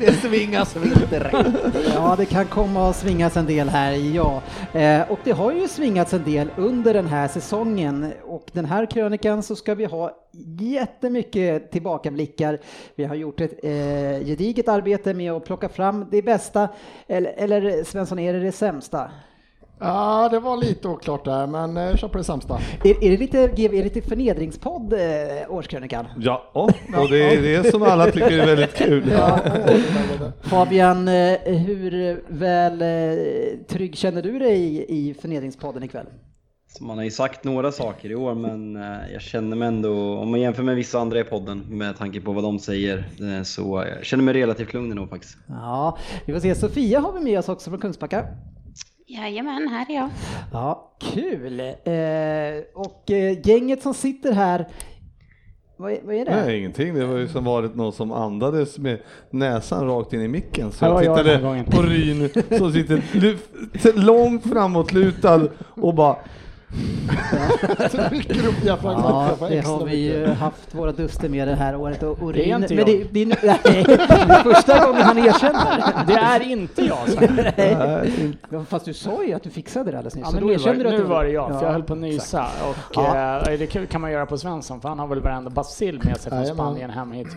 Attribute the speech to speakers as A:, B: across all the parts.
A: det svingas vinter.
B: Ja, det kan komma att svingas en del här, ja. Eh, och det har ju svingats en del under den här säsongen. Och den här krönikan så ska vi ha jättemycket tillbakablickar. Vi har gjort ett eh, gediget arbete med att plocka fram det bästa, eller, eller Svensson, är det det sämsta?
A: Ja, det var lite oklart där, men eh, kör på det sämsta.
B: Är, är det lite, är det lite förnedringspodd, eh, årskrönikan?
A: Ja, och det är det som alla tycker är väldigt kul.
B: Fabian, eh, hur väl eh, trygg känner du dig i, i förnedringspodden ikväll?
C: Så man har ju sagt några saker i år men eh, jag känner mig ändå, om man jämför med vissa andra i podden med tanke på vad de säger, eh, så jag känner mig relativt lugn ändå faktiskt.
B: Ja, vi får se. Sofia har vi med oss också från Kungsbacka.
D: Jajamän, här är jag.
B: Ja, kul! Eh, och eh, gänget som sitter här, vad, är- vad är det?
A: Nej, ingenting. Det var ju som varit någon som andades med näsan rakt in i micken. Så
E: Det
A: jag
E: var jag den här
A: tittade
E: gången.
A: på Ryn som sitter lyft- långt framåtlutad och bara
F: Rycker upp diafragman.
B: Ja, det har vi ju haft våra duster med det här året. Och, och
E: Det är
B: Ryn-
E: inte
B: men
E: jag.
B: det, det är nu- nej, det är första gången han erkänner.
E: Det är inte jag. sa jag.
B: Nej. Ja, Fast du sa ju att du fixade det alldeles nyss.
E: Ja,
B: så
E: men
B: då
E: nu var,
B: erkänner du att
E: nu
B: du-
E: var det jag, för
B: Ja,
E: jag höll på att nysa. Och,
B: Ja.
E: eh, det kan- kan man göra på Svensson, för han har väl varenda bacill med sig från
F: Jajamän.
E: Spanien hem hit.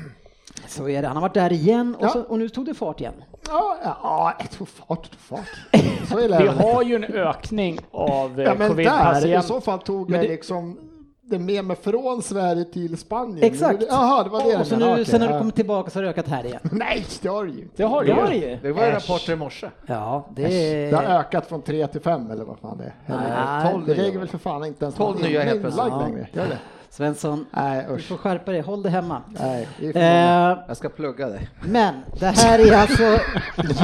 B: Så är det. Han har varit där igen och,
F: Ja.
B: så, och nu tog det fart igen.
F: Ja, ja, jag tror fart, jag tror fart. Så är
E: Vi
F: det.
E: har ju en ökning av eh,
F: ja, men där, i
E: covid-patient.
F: så fall tog
B: Men
F: jag
B: det-
F: liksom det med mig från Sverige till Spanien.
B: Exakt!
F: Jaha, det var det
B: och så
F: jag
B: nu,
F: menade. Okej,
B: sen när du
F: ja.
B: kommit tillbaka så har det ökat här igen.
F: Nej, det har du ju inte.
E: Det har
B: Det har
E: du
B: det
E: ju.
B: ju.
F: Det var ju rapporter i morse.
B: Ja, det
F: Det har ökat från 3 till 5 eller vad fan det är.
B: Nej.
F: Eller, 12, det lägger väl för fan inte ens
A: 12 nya helt plötsligt.
F: plötsligt. Längre. Gör det?
B: Svensson,
F: Nej,
B: du
F: usch.
B: får skärpa dig. Håll dig hemma.
F: Nej, det är för många.
B: Eh,
G: Jag ska plugga dig.
B: Men det här är alltså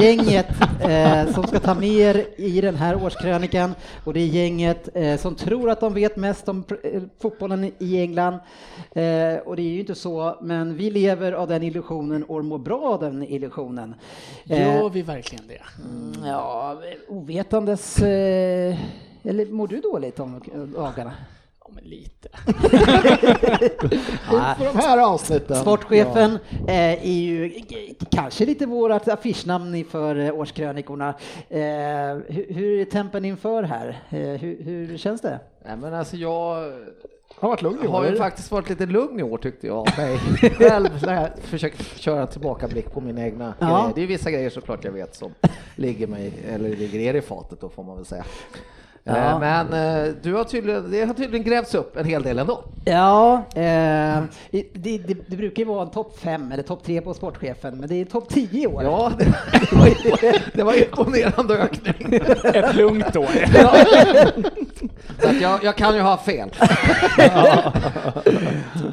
B: gänget eh, som ska ta med er i den här årskrönikan och det är gänget eh, som tror att de vet mest om pr- eh, fotbollen i England. Eh, och det är ju inte så, men vi lever av den illusionen och mår bra av den illusionen. Eh,
E: Gör vi verkligen det? Mm,
B: ja, ovetandes... Eh, eller mår du dåligt om dagarna?
E: Ja, men lite.
F: Inför de här avsnitten.
B: Sportchefen eh, är ju k- k- kanske lite vårt affischnamn inför eh, årskrönikorna. Eh, hur, hur är tempen inför här? Eh, hur, hur känns det?
G: Nej men alltså jag
F: Ja, har varit lugn i år.
G: har
F: är
G: ju
F: det?
G: faktiskt varit lite lugn i år tyckte jag. av Mig själv när jag försökt köra en tillbakablick på mina egna
B: Ja.
G: grejer. Det är ju vissa grejer såklart jag vet som ligger mig, eller ligger er i fatet då får man väl säga.
B: Ja.
G: Eh, Men eh, du har tydligen, det har tydligen grävts upp en hel del ändå.
B: Ja, eh, det, det, det brukar ju vara en topp fem eller topp tre på sportchefen, men det är topp tio i år.
G: Ja, det, det var imponerande ökning.
E: Ett lugnt år.
G: Så att jag, jag kan ju ha fel.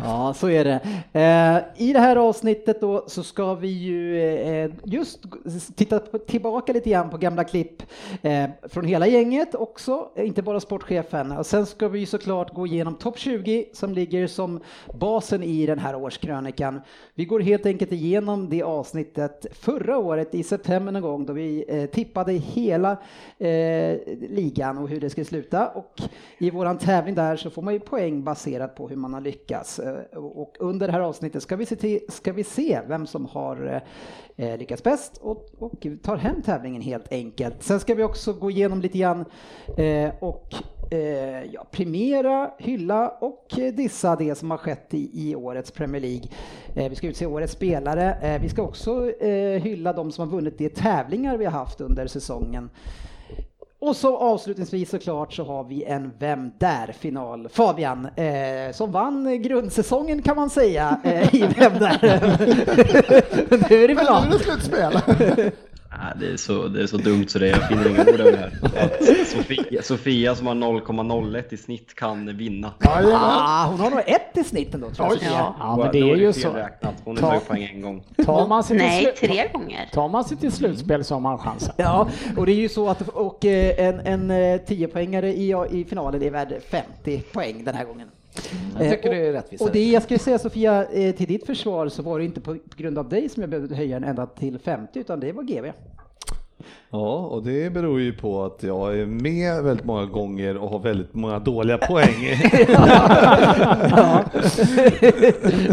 B: Ja, så är det. Eh, I det här avsnittet då så ska vi ju eh, just g- titta på, tillbaka lite grann på gamla klipp eh, från hela gänget också, eh, inte bara sportchefen. Och sen ska vi ju såklart gå igenom topp 20 som ligger som basen i den här årskrönikan. Vi går helt enkelt igenom det avsnittet förra året i september någon gång då vi eh, tippade hela eh, ligan och hur det skulle sluta. Och i våran tävling där så får man ju poäng baserat på hur man har lyckats. Eh, Och under det här avsnittet ska vi se, till, ska vi se vem som har eh, lyckats bäst och, och tar hem tävlingen helt enkelt. Sen ska vi också gå igenom lite grann eh, och eh, ja, primera, hylla och eh, dissa det som har skett i, i årets Premier League. Eh, vi ska utse årets spelare. Eh, vi ska också eh, hylla de som har vunnit de tävlingar vi har haft under säsongen. Och så avslutningsvis såklart så har vi en Vem Där-final. Fabian, eh, som vann eh, grundsäsongen kan man säga eh, i Vem Där. nu är det
G: Men nu är
B: bra.
G: det slutspel.
C: Nej, det, är så, det är så dumt så det är, jag finner inga ord över det här. Att Sofia, Sofia som har 0,01 i snitt kan vinna.
B: Ah, hon har nog ett i snitt ändå tror jag. Sofia.
E: Ja, men det
C: Då
E: är ju
C: fel
E: så.
C: Räknat. Hon
E: Ta-
C: har tagit poäng en gång.
E: Tar man sig till,
D: Nej,
E: slu-
D: tre gånger.
E: tar man sig till slutspel så har man chansen.
B: Ja, och det är ju så att och eh, en, en eh, 10-poängare i, i finalen är värd 50 poäng den här gången.
G: Jag
E: Mm.
B: Eh,
G: tycker
B: och-
G: det är rättvist.
B: Och det jag skulle säga Sofia, eh, till ditt försvar så var det inte på på grund av dig som jag behövde höja den ända till 50 utan det var GV.
A: Ja, och det beror ju på att jag är med väldigt många gånger och har väldigt många dåliga poäng.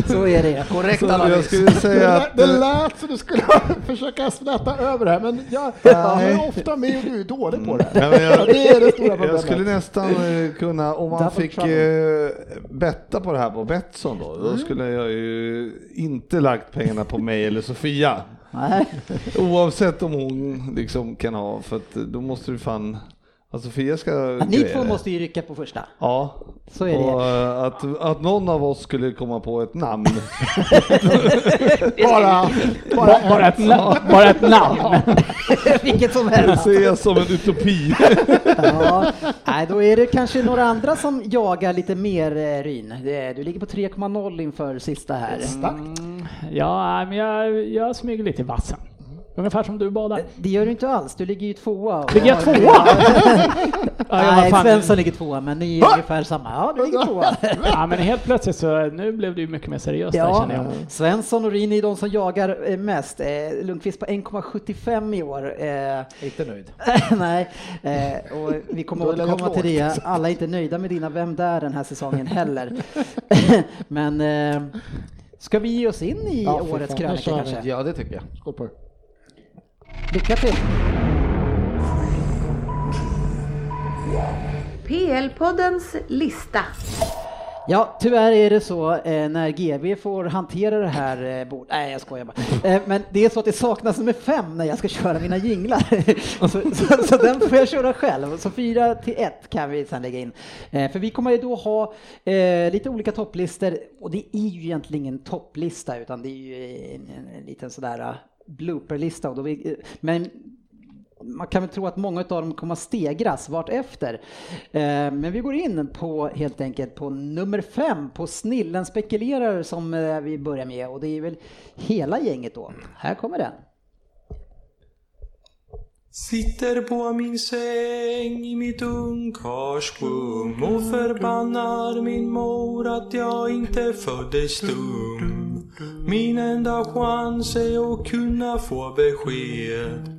B: så är det.
G: Korrekt
A: Så jag
G: analys.
A: skulle säga att... eh,
H: Det lät som du skulle försöka släta över det här, men jag, du är ofta med och du är dålig på det.
A: Nej, men jag,
H: Det är det stora problemet.
A: jag skulle nästan eh, kunna, om man
B: Double
A: fick eh, betta på det här på Betsson då,
B: Mm.
A: då skulle jag ju inte lagt pengarna på mig eller Sofia.
B: Nej.
A: Oavsett om hon liksom kan ha, för att då måste du fan, att Sofia ska
B: Ni
A: greja
B: två
A: det.
B: måste ju rycka på första.
A: Ja,
B: Så är det.
A: och eh, att, att någon av oss skulle komma på ett namn.
H: Bara, bara,
E: Ba- Bara ett, na- bara ett namn.
B: Vilket som
A: Det
B: helst.
A: ser jag som en utopi.
B: Ja. Nej, då är det kanske några andra som jagar lite mer eh, Ryn. Det- Du ligger på 3,0 inför sista här.
E: Ja, nej, men jag, jag smyger lite i vassen. Ungefär som du badar.
B: Det gör du inte alls, du ligger ju tvåa.
E: Ligger jag tvåa? Ja, jag var
B: Nej,
E: fan-
B: Svensson ligger tvåa, men ni är ungefär samma. Ja, du ligger tvåa.
E: Ja, men helt plötsligt så, nu blev det ju mycket mer seriöst där
B: Ja,
E: känner jag.
B: Svensson och Rini är de som jagar eh, mest. Eh, Lundqvist på 1,75 i år. Eh,
G: Inte nöjd.
B: Nej, eh, och vi kommer
H: Då är det
B: återkomma
H: lågt.
B: till det. Alla är inte nöjda med dina Vem där den här säsongen heller. Men eh, ska vi ge oss in i
H: Ja, fy fan,
B: årets
H: nu
B: krönika
H: kör vi.
B: kanske?
G: Ja, det tycker jag.
H: Skål på er.
B: Lycka till!
I: PL-poddens lista.
B: Ja, tyvärr är det så eh, när GB får hantera det här eh, bordet. Nej, jag skojar bara. Eh, men det är så att det saknas nummer fem när jag ska köra mina jinglar. så, så, så den får jag köra själv. Så fyra till ett kan vi sen lägga in. Eh, för vi kommer ju då ha eh, lite olika topplistor och det är ju egentligen ingen topplista utan det är ju en, en, en liten sådär eh, blooperlista. Och då vi, eh, men man kan väl tro att många av dem kommer att stegras vart efter. Eh, Men vi går in på helt enkelt på nummer fem, på snillen spekulerar som eh, vi börjar med och det är väl hela gänget då. Här kommer den.
J: Sitter på min säng i mitt ungkarlsrum och förbannar min mor att jag inte föddes dum. Min enda chans är att kunna få besked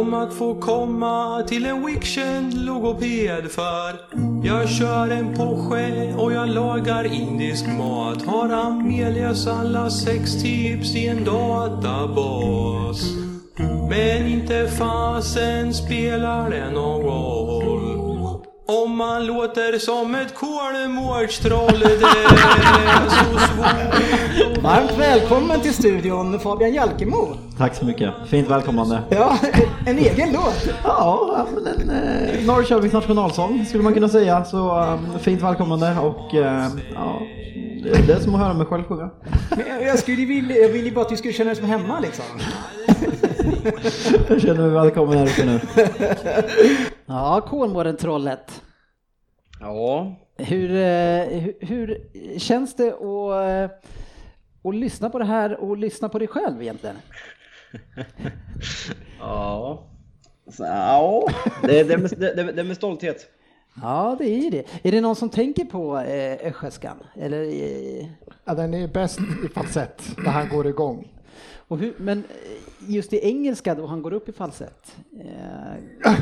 J: om att få komma till en weekkänd logoped för jag kör en Porsche och jag lagar indisk mat. Har Amelias alla sex tips i en databas. Men inte fasen spelar det någon roll om man låter som ett kolmårdstroll Det är så svårt
B: Varmt välkommen till studion Fabian Jalkemo.
C: Tack så mycket. Fint välkomnande.
B: Ja, en egen låt.
J: Ja, men en, eh, Norrköpings nationalsång skulle man kunna säga. Så eh, fint välkomnande och eh, ja, det det är som att höra mig själv sjunga.
B: Jag skulle vilja, jag ville bara att du skulle känna dig som hemma liksom.
J: Jag känner mig välkommen här uppe nu.
B: Ja, Kolmården-trollet.
C: Ja.
B: Hur, eh, hur, hur känns det att, eh, att lyssna på det här och lyssna på dig själv egentligen?
C: Ja. Så, ja. Det, det, är med, det, det är med stolthet.
B: Ja, det är ju det. Är det någon som tänker på eh, östgötskan? Eller, eh,
H: Ja, den är bäst i falsett när han går igång.
B: och hur, men eh, just i engelska då han går upp i falsett?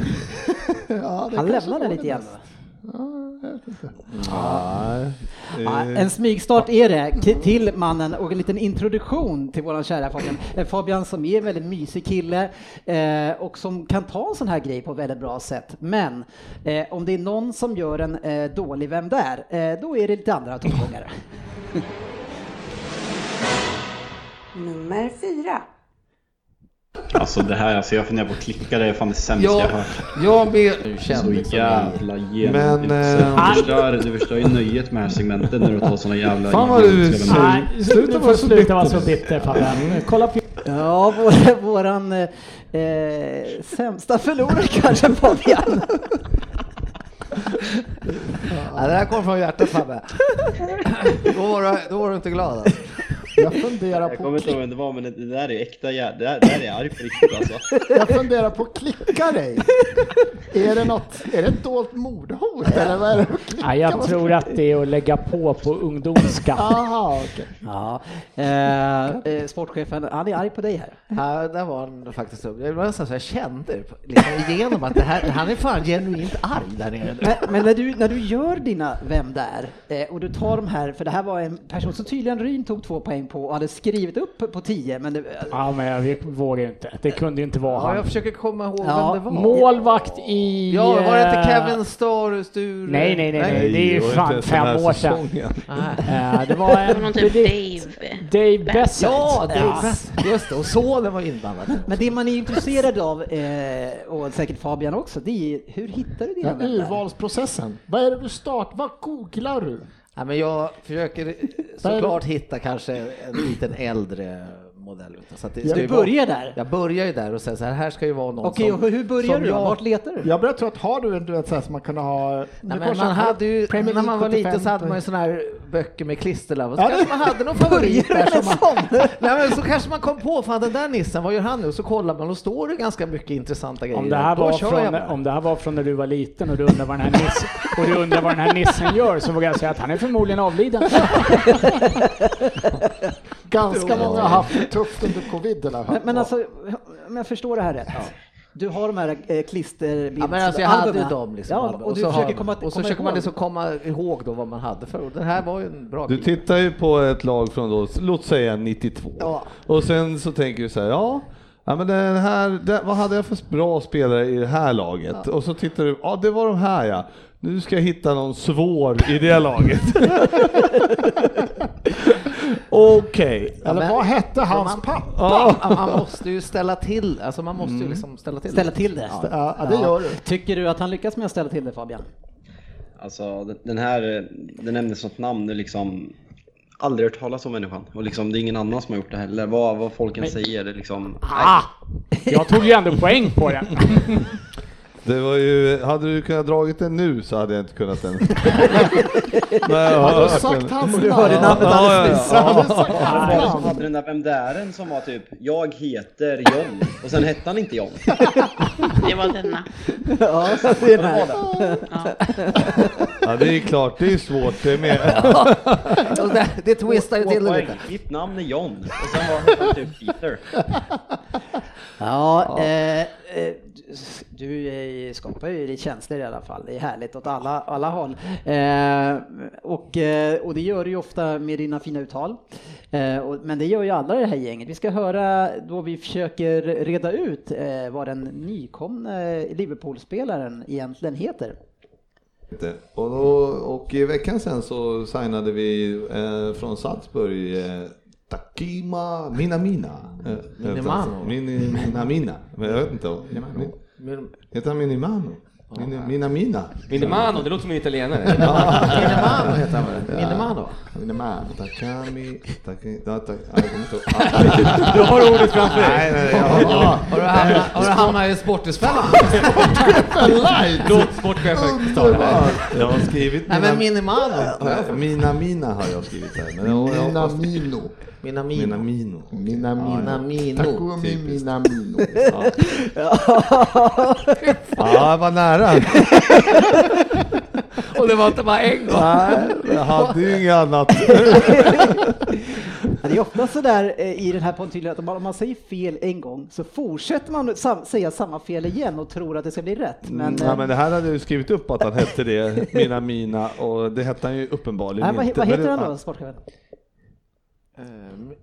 B: Eh, han lämnar den lite grann. va?
A: Nej.
B: Ja,
A: Eh,
B: en smygstart är det ki- till mannen och en liten introduktion till våran kära Fabian. Eh, Fabian som är en väldigt mysig kille eh, och som kan ta en sån här grej på ett väldigt bra sätt. Men eh, om det är någon som gör en eh, dålig Vem där? Eh, då är det lite andra tongångar.
I: Nummer fyra.
C: Alltså det här, alltså jag funderar på att klicka, det är fan det sämsta
G: Ja,
C: jag har hört.
G: jag med.
C: Du
G: kände
C: så jävla genom.
A: Men,
C: du,
A: eh,
C: förstör, du förstör ju nöjet med det här segmentet när du tar såna jävla...
A: Fan vad du
C: idiotiska
A: säger.
C: vändningar.
E: Nej, sluta vara så bitter. vara så bitter Fabian. Kolla på...
B: Ja, vår, våran eh, eh, sämsta förlorare kanske Fabian.
G: Ja, det här kom från hjärtat Fabbe. Då var du, då var du inte glad alltså.
H: Jag funderar
C: Jag
H: på,
C: kommer inte ihåg vem det var men det det där är ju äkta jävla... Det där, det där är jag arg på riktigt alltså.
H: jag funderar på att klicka dig. Är det något, är det ett dolt mordhot eller vad är det?
E: Nej, jag tror att det är att lägga på på ungdomsskatt.
H: Aha, okej.
B: Ja, eh, eh, sportchefen, han är arg på dig här.
G: Ja, där var han faktiskt upp. Det var nästan så jag kände liksom igenom att det här, han är fan genuint arg där nere. nu.
B: Men, men när, du, när du gör dina Vem där? eh, och du tar de här, för det här var en person som tydligen Ryn tog två poäng på och hade skrivit upp på tio, men det,
E: Ja, men jag vet- vågar ju inte. Det kunde ju inte vara
G: Ja,
E: han.
G: jag försöker komma ihåg
B: Ja,
G: vem det var.
E: Målvakt i...
G: Ja, var det inte
E: eh,
G: Kevin Star Sture?
E: Nej, nej, nej, nej. Det är ju
A: var inte
E: fan
A: ens den här
E: fem år sedan.
A: säsongen.
E: Eh, Det var
D: Det var
E: en...
D: någon typ
E: det-
D: Dave.
E: Dave Bessert.
G: Ja, det är bäst. Just det, och sonen var inblandad.
B: men det man är intresserad av, eh, och säkert Fabian också, det är ju, hur hittar du dina
H: Den
B: Vem där?
H: urvalsprocessen. Vad är det du startar? Vad googlar du?
G: Ja, men jag försöker såklart hitta kanske en liten äldre modell. utan Så att det ska
B: Du
G: ju vara-
B: börjar där?
G: Jag börjar ju där och säger så här, här ska ju vara någon
B: Okej,
G: som...
B: och hur börjar
G: som
B: du då?
G: jag-
B: Vart letar du?
H: Jag börjar tro att har du en du vet, så här, som man kunde ha...
G: Nej,
H: Det
G: men
H: kanske
G: man
H: har-
G: hade ju,
H: Premier
G: när man var
H: League
G: liten så
H: 75
G: hade man ju sådana här böcker med klisterlappar. Så
H: Ja,
G: kanske
H: det-
G: man hade någon favorit
B: Börjar
G: där
B: du
G: som
B: med
G: man, nej, men så kanske man kom på, fan den där nissen, vad gör han nu? Så kollar man och står det ganska mycket intressanta grejer.
E: Om det, här
G: Då
E: var
G: kör jag
E: från,
G: bara.
E: om det här var från när du var liten och du undrar vad den här nissen, och du undrar vad den här nissen gör så vågar jag säga att han är förmodligen avliden.
H: Ganska många har haft det tufft under covid. Den här.
B: Men, men alltså, om jag förstår det här rätt. Du har de här eh,
G: Ja,
B: klisterbildsalbumen.
G: men alltså jag hade ju dem liksom.
B: Ja,
G: albumen.
B: och du
G: så har
B: försöker
G: man-
B: komma,
G: och
B: komma
G: så försöker man
B: ihåg.
G: liksom komma ihåg då vad man hade för. Och den här var ju en bra
A: Du
G: skiva.
A: tittar ju på ett lag från då, låt säga 92. Och sen så tänker du så här, ja, ja men den här, den, vad hade jag för bra spelare i det här laget? Och så tittar du, ja det var de här ja. Nu ska jag hitta någon svår i det laget. Okej.
H: Eller
G: men-
H: vad hette hans
G: man-
H: pappa?
G: Ja, man måste ju ställa till, alltså man måste ju liksom ställa till.
B: Ställa till det.
H: Mm. Ja, det gör du.
B: Tycker du att han lyckas med att ställa till det Fabian?
C: Alltså den- den här, eh, den nämndes något namn, det är liksom aldrig hört talas om människan. Och liksom det är ingen annan som har gjort det heller. Vad, vad folk än säger, det är liksom...
E: Ah, jag tog ju ändå poäng på den.
A: Det var ju, hade du kunnat dragit den nu så hade jag inte kunnat den. Nej, jag
H: Har
A: har
H: du
A: hört
H: sagt
A: den.
H: hans
B: Du hörde
H: namn?
B: namnet alldeles nyss.
H: Har du sagt
C: Nej,
H: hans
C: det var ju som
H: namn?
C: hade den där Vem där en som var typ Jag heter John och sen hette han inte John.
D: Det var denna.
B: Ja, det är den här.
A: Ja, det är klart, det är svårt det är med.
G: Och det, det twistar ju
C: Två
G: till det
C: poäng.
G: lite.
C: Mitt namn är John och sen var hette han typ Peter.
B: Ja, eh, eh, du eh, skapar ju lite känslor i alla fall. Det är härligt åt alla, alla håll. Eh, och, eh, och det gör du ju ofta med dina fina uttal. Eh, och, men det gör ju alla i det här gänget. Vi ska höra då vi försöker reda ut eh, vad den nykomne Liverpool-spelaren egentligen heter.
A: Inte. Och, då, och i veckan sen så signade vi eh, från Salzburg eh, Takima Minamina. Eh,
G: Minimano.
A: Minamina. Men jag vet inte. om- Heter han Minimano? Min, mina Mina.
K: Minimano, det låter som en italienare.
A: Minimano heter han väl?
K: Minimano?
A: Minimano. Takami... Takami... Ja, tak- ja, jag kommer inte ihåg.
K: Du har ordet framför dig.
A: Nej, nej, jag har...
K: Har du hamnat- har du hamnat i Sporthusfällan?
A: Sportchefen live!
K: Låt sportchefen ta det här.
A: Jag har skrivit...
G: Nej, men Minimano.
A: Ja, Mina Mina har jag skrivit här. Men jag, jag hoppas...
H: Minamino.
G: Minamino.
A: Minamino.
H: Minamino.
G: Minamino.
H: Takumi Minamino.
A: Ja, jag var nära.
K: Och det var inte bara en gång.
A: Nej, jag hade ju inget annat.
B: Ja, Det är ofta så där eh, i den här pontyllen att om man, om man säger fel en gång så fortsätter man sam säga samma fel igen och tror att det ska bli rätt. Men,
A: Men,
B: eh,
A: Mm, ja, men det här hade jag ju skrivit upp att han hette det, Mina Mina, och det hette han ju uppenbarligen
B: nej, vad, he-
A: inte.
B: vad
A: men
B: heter
A: det-
B: han då, sportchefen?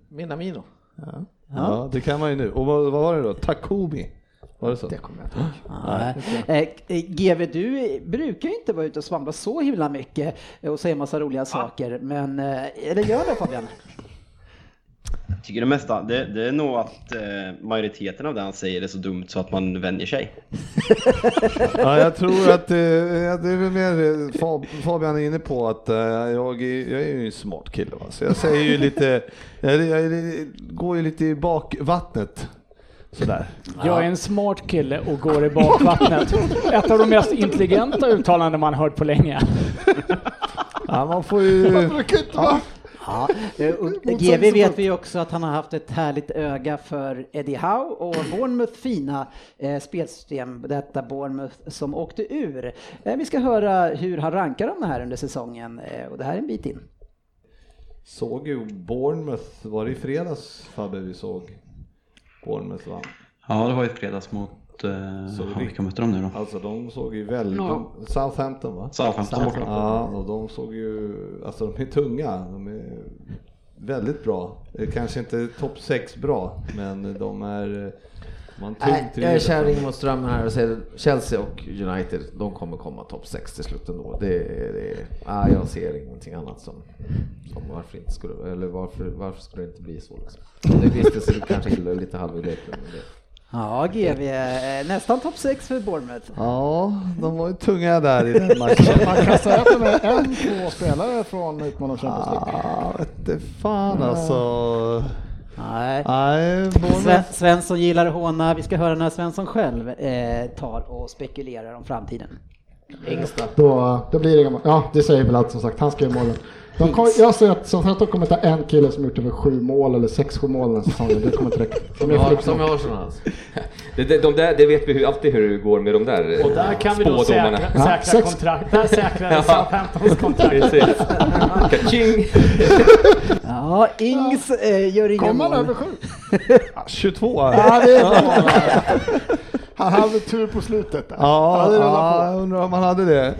G: Minamino.
A: Ja. ja, det kan man ju nu. Och vad, vad var det då? Takumi? Var det så? Ah. Det
G: kommer
A: jag inte
B: Nej. Eh, GV, du brukar ju inte vara ute och svamla så himla mycket eh, och säga massa roliga saker, men eh, eller gör det Fabian?
C: Jag tycker det mesta, det, det är nog att eh, majoriteten av det han säger är så dumt så att man vänjer sig.
A: Ja, jag tror att eh, ja, det är väl mer eh, Fab- Fabian är inne på att eh, jag, är, jag är ju en smart kille. Va? Så jag säger ju lite, jag, jag, jag går ju lite i bakvattnet. Sådär.
E: Jag är en smart kille och går i bakvattnet. Ett av de mest intelligenta uttalanden man hört på länge.
A: Ja, man får ju...
B: Ja. Ja, eh, och GV vet vi ju också att han har haft ett härligt öga för Eddie Howe och Bournemouth fina eh, spelsystem, detta Bournemouth som åkte ur. Eh, vi ska höra hur han rankar dem här under säsongen eh, och det här är en bit in.
A: Såg ju Bournemouth, var det i fredags Fabbe vi såg? Bournemouth vann.
C: Ja, det var ju ett fredags mot... Eh,
A: Så
C: ja,
A: vi-
C: vilka mötte de nu då?
A: Alltså de såg ju väldigt...
C: Ja.
A: de- Southampton va?
C: Southampton borta.
A: Ja, och de såg ju... Alltså de är tunga. De är väldigt bra. Eh, Kanske inte topp 6 bra, men de är... eh, Man
G: Nej, jag är kärring mot strömmen här och säger Chelsea och United, de kommer komma topp 6 till slut ändå. Det, det, ah, jag ser ingenting annat som, som varför, inte skulle, eller varför, varför skulle det inte bli så. Liksom. Det visste sig kanske illa lite halv i leken. men det-
B: Ja, GV, eh, nästan topp 6 för Bournemouth.
A: Ja, de var ju tunga där i den matchen.
H: Man kan säga att de är en, två spelare från utmanarna Champions League.
A: Ja, vete Ah, fan alltså.
B: Nej.
A: Nej,
B: Sven,
A: Bournemouth.
B: Svensson gillar att håna. Vi ska höra när Svensson själv eh, tar och spekulerar om framtiden.
G: Engström.
H: Då, då blir det inga mål. Ja, det säger väl allt som sagt. Han ska göra målen. De kom, jag ser att som sagt, de kommer ta en kille som gjort över sju mål eller sex, sju mål den här säsongen. Det kommer inte räcka. De är för
G: Som i Arsenal alltså.
K: Det, det, de där, det vet vi hur, alltid hur det går med de där eh,
E: Och där kan vi då
K: spådomarna.
E: säkra, säkra kontrakt. Där säkrar vi Southamptons kontrakt.
K: Precis. Kaching!
B: Ja, Ings eh, gör inga
H: Kom
B: mål.
H: han över sju?
A: Ah, 22.
H: Ja, det är bra. Han hade tur på slutet. där.
A: Ja,
H: det rullar på.
A: ja, jag undrar om han hade det.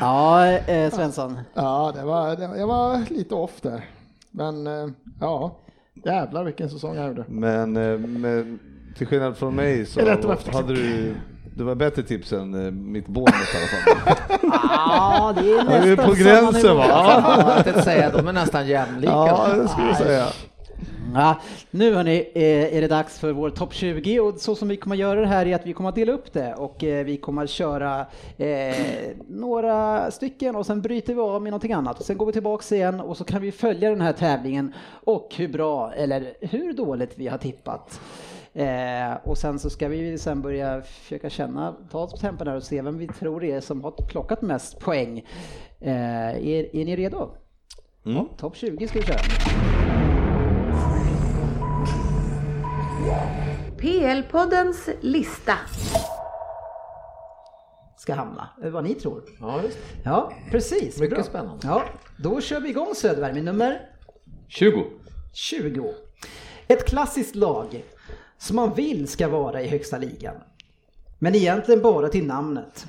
B: Ja, eh, Svensson.
H: Ja, det var, det, jag var lite off där. Men eh, ja, jävlar vilken säsong jag gjorde.
A: Men, eh, men till skillnad från mig så
H: Är det att de är efterkloka?
A: hade du det var bättre tips än eh, mitt Bournemouth i alla fall.
B: Ja, det är
A: Ja, vi är
B: nästan
A: på gränsen
B: samma
A: va?
B: nivå.
G: Ja, jag tänkte säga, de är nästan jämlika.
A: Ja, det skulle jag säga.
B: Ja, nu hörni eh, är det dags för vår topp 20 och så som vi kommer göra det här är att vi kommer att dela upp det och eh, vi kommer att köra eh, några stycken och sen bryter vi av med någonting annat. Sen går vi tillbaks igen och så kan vi följa den här tävlingen och hur bra eller hur dåligt vi har tippat. Eh, och sen så ska vi sen börja försöka känna, ta oss på tempen här och se vem vi tror är som har plockat mest poäng. Eh, är, är ni redo?
A: Mm.
B: Topp 20 ska vi köra.
I: PL-poddens lista.
B: ska hamna, eh, vad ni tror.
G: Ja, just.
B: Ja, precis.
G: Mycket spännande.
B: Ja, då kör vi igång Söderberg med nummer
K: 20.
B: 20. Ett klassiskt lag som man vill ska vara i högsta ligan. Men egentligen bara till namnet.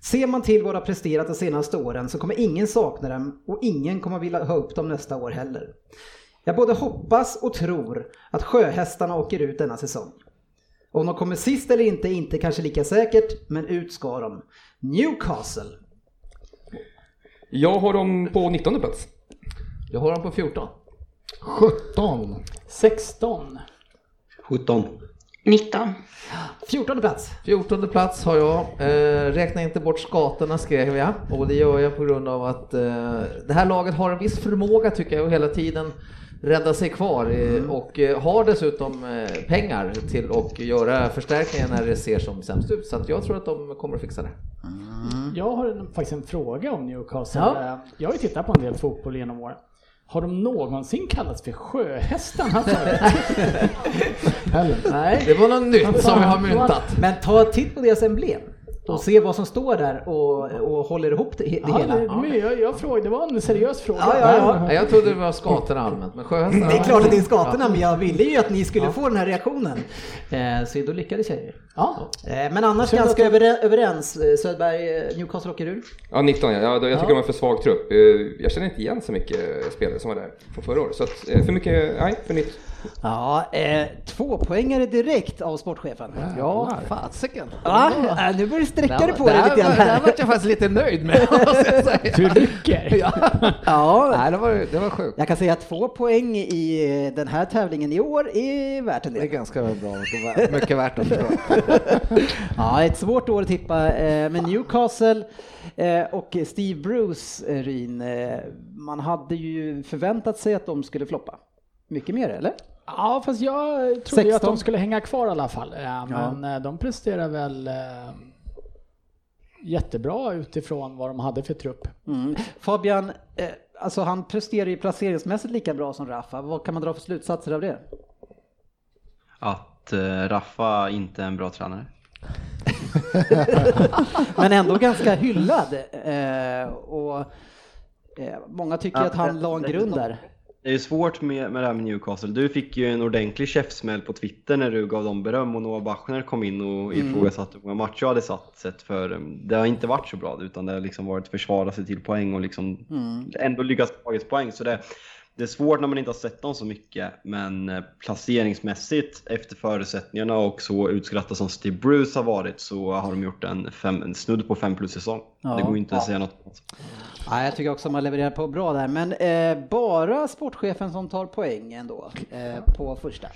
B: Ser man till vad de har presterat de senaste åren så kommer ingen sakna dem och ingen kommer vilja ha upp dem nästa år heller. Jag både hoppas och tror att sjöhästarna åker ut denna säsong. Om de kommer sist eller inte är inte kanske lika säkert, men ut ska de. Newcastle.
K: Jag har dem på 19 plats.
G: Jag har dem på 14.
H: 17.
E: 16.
C: 17.
D: 19.
B: 14 plats.
G: 14 plats har jag. Eh, räkna inte bort skatorna skrev jag och det gör jag på grund av att eh, det här laget har en viss förmåga tycker jag att hela tiden rädda sig kvar eh,
B: Mm.
G: och eh, har dessutom eh, pengar till att göra förstärkningar när det ser som sämst ut. Så att jag tror att de kommer att fixa det.
B: Mm.
E: Jag har en, faktiskt en fråga om Newcastle.
G: Ja.
E: Eh, Jag har ju tittat på en del fotboll genom åren. Har de någonsin kallats för sjöhästarna förut?
B: Nej.
G: Det var något nytt som vi har myntat.
B: Men ta en titt på deras emblem och se vad som står där och, och håller ihop det, det
E: Ja,
B: hela.
E: det- men jag, jag frågade, det var en seriös fråga.
G: Nej, Jag trodde det var skatorna allmänt, men sjöhästarna...
B: Det är klart att det är skatorna,
G: Ja.
B: men jag ville ju att ni skulle
G: Ja.
B: få den här reaktionen. Eh, Så då lyckades jag ju.
E: Ja.
B: Eh, Men annars
E: Synd att
B: ganska
E: du-
B: övere- överens. Eh, Söderberg, eh, Newcastle åker ur.
K: Ja, 19 ja. ja då- jag tycker
B: Ja.
K: de har för svag trupp. Eh, Jag känner inte igen så mycket eh, spelare som var där från förra året. Så att, eh, för mycket, nej, för nytt.
B: Ja, eh, två poängare direkt av sportchefen.
K: Ja,
G: fasiken.
B: Ja, eh, nu börjar du sträcka dig på dig lite grann
G: här. Där
B: här.
G: vart jag faktiskt lite nöjd med. måste jag säga.
E: Du rycker.
B: Ja.
G: Nej, det var, det var sjukt.
B: Jag kan säga att två poäng i eh, den här tävlingen i år är värt en del.
G: Det är ganska bra, mycket värt att förstå.
B: Ja, ett svårt år att tippa, eh, men Newcastle eh, och Steve Bruce, eh, Ryn, eh, man hade ju förväntat sig att de skulle floppa. Mycket mer, eller?
E: Ja, fast jag trodde ju att
B: 16.
E: de skulle hänga kvar i alla fall. Ja, men eh, de presterar väl eh, jättebra utifrån vad de hade för trupp.
B: Mm. Fabian, eh, alltså han presterar ju placeringsmässigt lika bra som Rafa. Vad kan man dra för slutsatser av det?
C: Att eh, Raffa inte är en bra tränare.
B: Men ändå ganska hyllad. Eh, och eh, många tycker
C: Ja,
B: att han
C: det-
B: la en
C: det-
B: grund där.
C: Det är ju svårt med, med det här med Newcastle. Du fick ju en ordentlig käftsmäll på Twitter när du gav dem beröm och Noah Bachner kom in och
B: Mm.
C: ifrågasatte hur många matcher jag hade satt. Sett för, um, det har inte varit så bra utan det har liksom varit försvara sig till poäng och liksom
B: Mm.
C: ändå lyckas ta ett poäng. Så det, det är svårt när man inte har sett dem så mycket, men eh, placeringsmässigt efter förutsättningarna och så utskrattad som Steve Bruce har varit så har de gjort en, fem, en snudd på fem plus säsong.
B: Ja.
C: Det går ju inte att
B: Ja.
C: säga något annat.
B: Ja, jag tycker också att man levererar på bra där, men eh, bara sportchefen som tar poäng ändå eh, på första.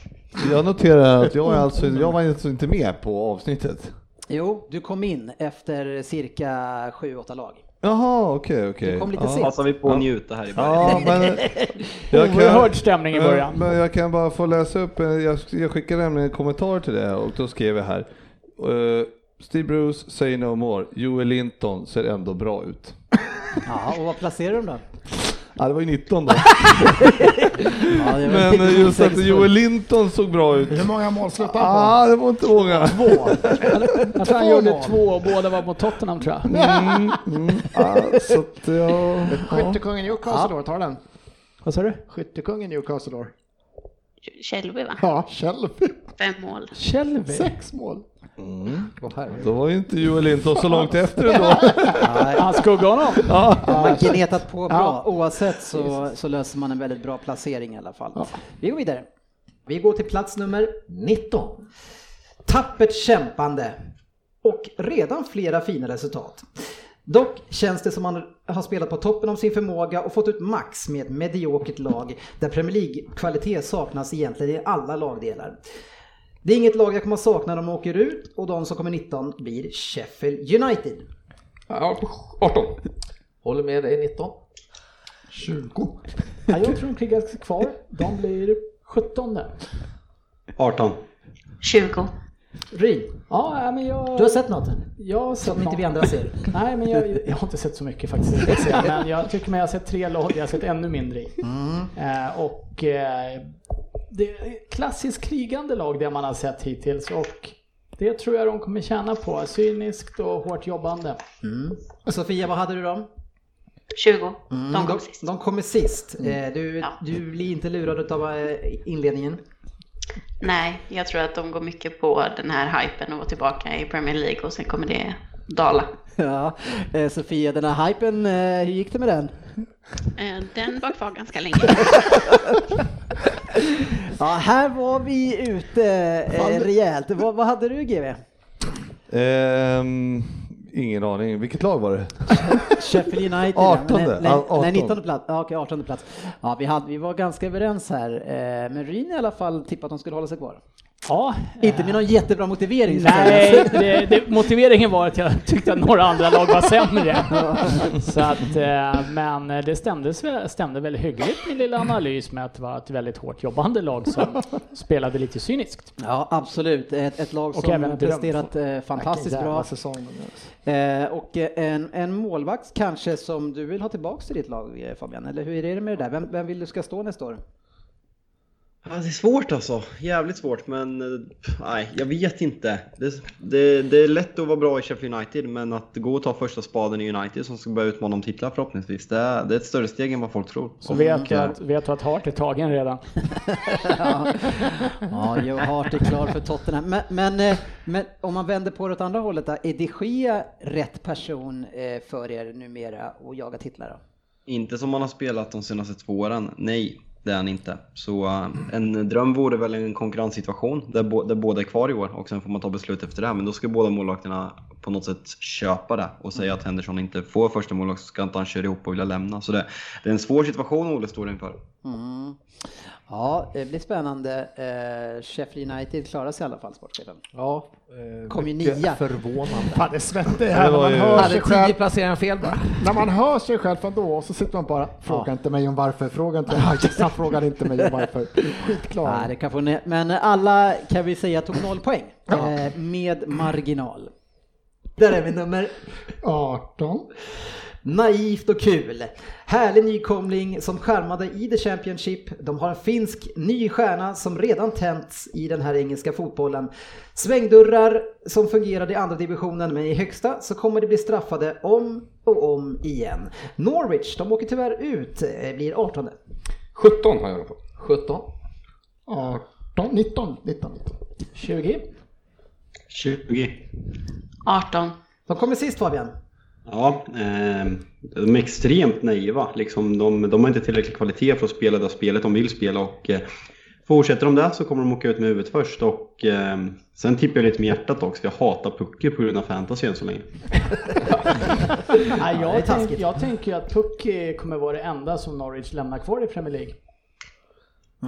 A: Jag noterar att jag, är alltså, jag var alltså inte med på avsnittet.
B: Jo, du kom in efter cirka 7-8 lag.
A: Jaha, okej, okej.
B: Du kom lite sent.
C: Passar vi på att njuta här i början.
A: Ja, men...
E: Oerhörd stämning i
A: men,
E: början.
A: Men jag kan bara få läsa upp, eh, jag, jag skickade nämligen en kommentar till det och då skrev jag här. eh, Steve Bruce, say no more. Joel Linton ser ändå bra ut.
B: Ja, och vad placerar de då?
A: Ja, det var ju 19 då.
B: var ju
A: men
B: lite
A: eh, just att
B: motsägelsefullt.
A: Joel Linton såg bra ut.
H: Hur många mål släppte han på?
A: Ah, det var inte många. Två.
E: Jag tror han
H: Två
E: gjorde
H: mål.
E: två och båda var mot Tottenham tror jag.
A: Mm, mm, ah, så att jag... Ja.
H: Skyttekungen Newcastle år, tar den.
E: Vad sa du?
H: Skyttekungen Newcastle år.
D: Shelby va?
H: Ja, Shelby.
D: Fem mål.
E: Shelby?
H: Sex mål.
A: Då var ju inte Joel Linton så långt efter ändå.
E: Han skuggade honom.
A: Ja.
B: Har man gnetat på bra,
H: Ja.
B: alltså, oavsett så, så löser man en väldigt bra placering i alla fall. Vi går vidare. Vi går till plats nummer 19. Tappert kämpande och redan flera fina resultat. Dock känns det som man har spelat på toppen av sin förmåga och fått ut max med ett mediokert lag där Premier League-kvalitet saknas egentligen i alla lagdelar. Det är inget lag jag kommer att sakna om de åker ut och de som kommer 19 blir Sheffield United.
K: Ja, 18.
G: Håller med dig 19.
H: 20.
E: Ja, jag tror de krigar kvar. De blir 17
C: 18.
D: 20.
B: Ryn,
E: Ja, nej, men jag...
B: du har sett något?
E: Jag har sett
B: Som inte
E: något.
B: vi andra ser.
E: Nej, men jag, jag har inte sett så mycket faktiskt. Men jag tycker mig ha sett tre lag jag har sett ännu mindre i.
H: Mm.
E: Eh, och eh, det är klassiskt krigande lag det man har sett hittills och det tror jag de kommer tjäna på. Cyniskt och hårt jobbande.
B: Sofia, vad hade du dem?
D: 20. De
B: de,
D: kom sist.
B: Mm.
D: Mm.
B: de kommer sist. Eh, Du,
D: Ja.
B: du blir inte lurad av inledningen.
D: Nej, jag tror att de går mycket på den här hypen och vara tillbaka i Premier League och sen kommer det dala.
B: Ja, eh, Sofia, den här hypen, eh, hur gick det med den?
D: Eh, Den var kvar ganska länge.
B: Ja, här var vi ute eh, rejält. Vad, vad hade du GV?
A: Ehm, ingen aning. Vilket lag var det?
B: Sheffield United.
A: 18:e.
B: Nej, nej,
A: Ja, 18.
B: nej 19 plats. Ja, okej, 18 plats. Ja, vi, hade, vi var ganska överens här. eh, Men Ryn i alla fall tippade att de skulle hålla sig kvar.
E: Ja,
B: Inte med någon jättebra motivering. så att
E: Nej,
B: säga.
E: det, det, motiveringen var att jag tyckte att några andra lag var sämre. Så att, eh, men det stämde, stämde väl hyggligt min lilla analys med att det var ett väldigt hårt jobbande lag som spelade lite cyniskt.
B: Ja, absolut. Ett, ett lag
E: Och
B: som
E: även
B: har
E: drömt.
B: presterat eh, fantastiskt
E: Vilken jävla
B: bra.
E: säsong
B: Eh, och eh, en, en målvakt kanske som du vill ha tillbaks till ditt lag eh, Fabian, eller hur är det med det där? Vem, vem vill du ska stå nästa år?
C: Ja, det är svårt alltså. Jävligt svårt. Men eh, pff, nej, jag vet inte. Det, det, det är lätt att vara bra i Sheffield United, men att gå och ta första spaden i United som ska börja utmana om titlar förhoppningsvis, det är, det är ett större steg än vad folk tror.
E: Så vet
C: Mm.
E: jag att, vet jag att Hart är tagen redan.
B: Ja, Joe Hart är klar för Tottenham. Men, men, eh, men om man vänder på det åt andra hållet, då, är de Gea rätt person eh, för er numera att jaga titlar? Då?
C: Inte som man har spelat de senaste två åren. Nej, det är han inte. Så eh, en dröm vore väl en konkurrenssituation där, bo- där båda är kvar i år och sen får man ta beslut efter det. här. Men då ska båda målvakterna på något sätt köpa det och säga att Henderson inte får första målvakt så ska inte han köra ihop och vilja lämna. Så det, det är en svår situation Ole står inför.
B: Mm. Ja, det blir spännande. Eh, Sheffield United klarar sig i alla fall, sportchefen.
F: Ja, eh,
B: Kom ju
F: mycket
B: nia.
F: förvånande.
H: Fan, det svettig här när man hör sig själv.
F: placeringar fel bara.
H: När man hör sig själv från då och så sitter man bara, fråga inte mig om varför, fråga inte mig, han frågar inte mig om varför. Skitklar.
B: Nej, det kan få ne- Men alla kan vi säga tog noll poäng eh, med marginal. Där är vi nummer
H: 18.
B: Naivt och kul. Härlig nykomling som skärmade i The Championship. De har en finsk ny stjärna som redan tänts i den här engelska fotbollen. Svängdörrar som fungerade i andra divisionen men i högsta så kommer de bli straffade om och om igen. Norwich, de åker tyvärr ut, eh, blir 18.
K: 17 har jag dem på.
F: 17.
H: 18, 19, 19, 19.
E: 20.
C: 20.
D: 18.
B: De kommer sist Fabian.
C: Ja, eh, de är extremt naiva. Liksom de, de har inte tillräcklig kvalitet för att spela det spelet de vill spela. Och, eh, fortsätter de där så kommer de åka ut med huvudet först. Och, eh, sen tippar jag lite med hjärtat också. Jag hatar Pucke på grund av fantasy än så länge.
E: Nej,
B: Ja, det är
E: jag, tänk,
B: taskigt.
E: jag tänker ju att Puck eh, kommer vara det enda som Norwich lämnar kvar i Premier League.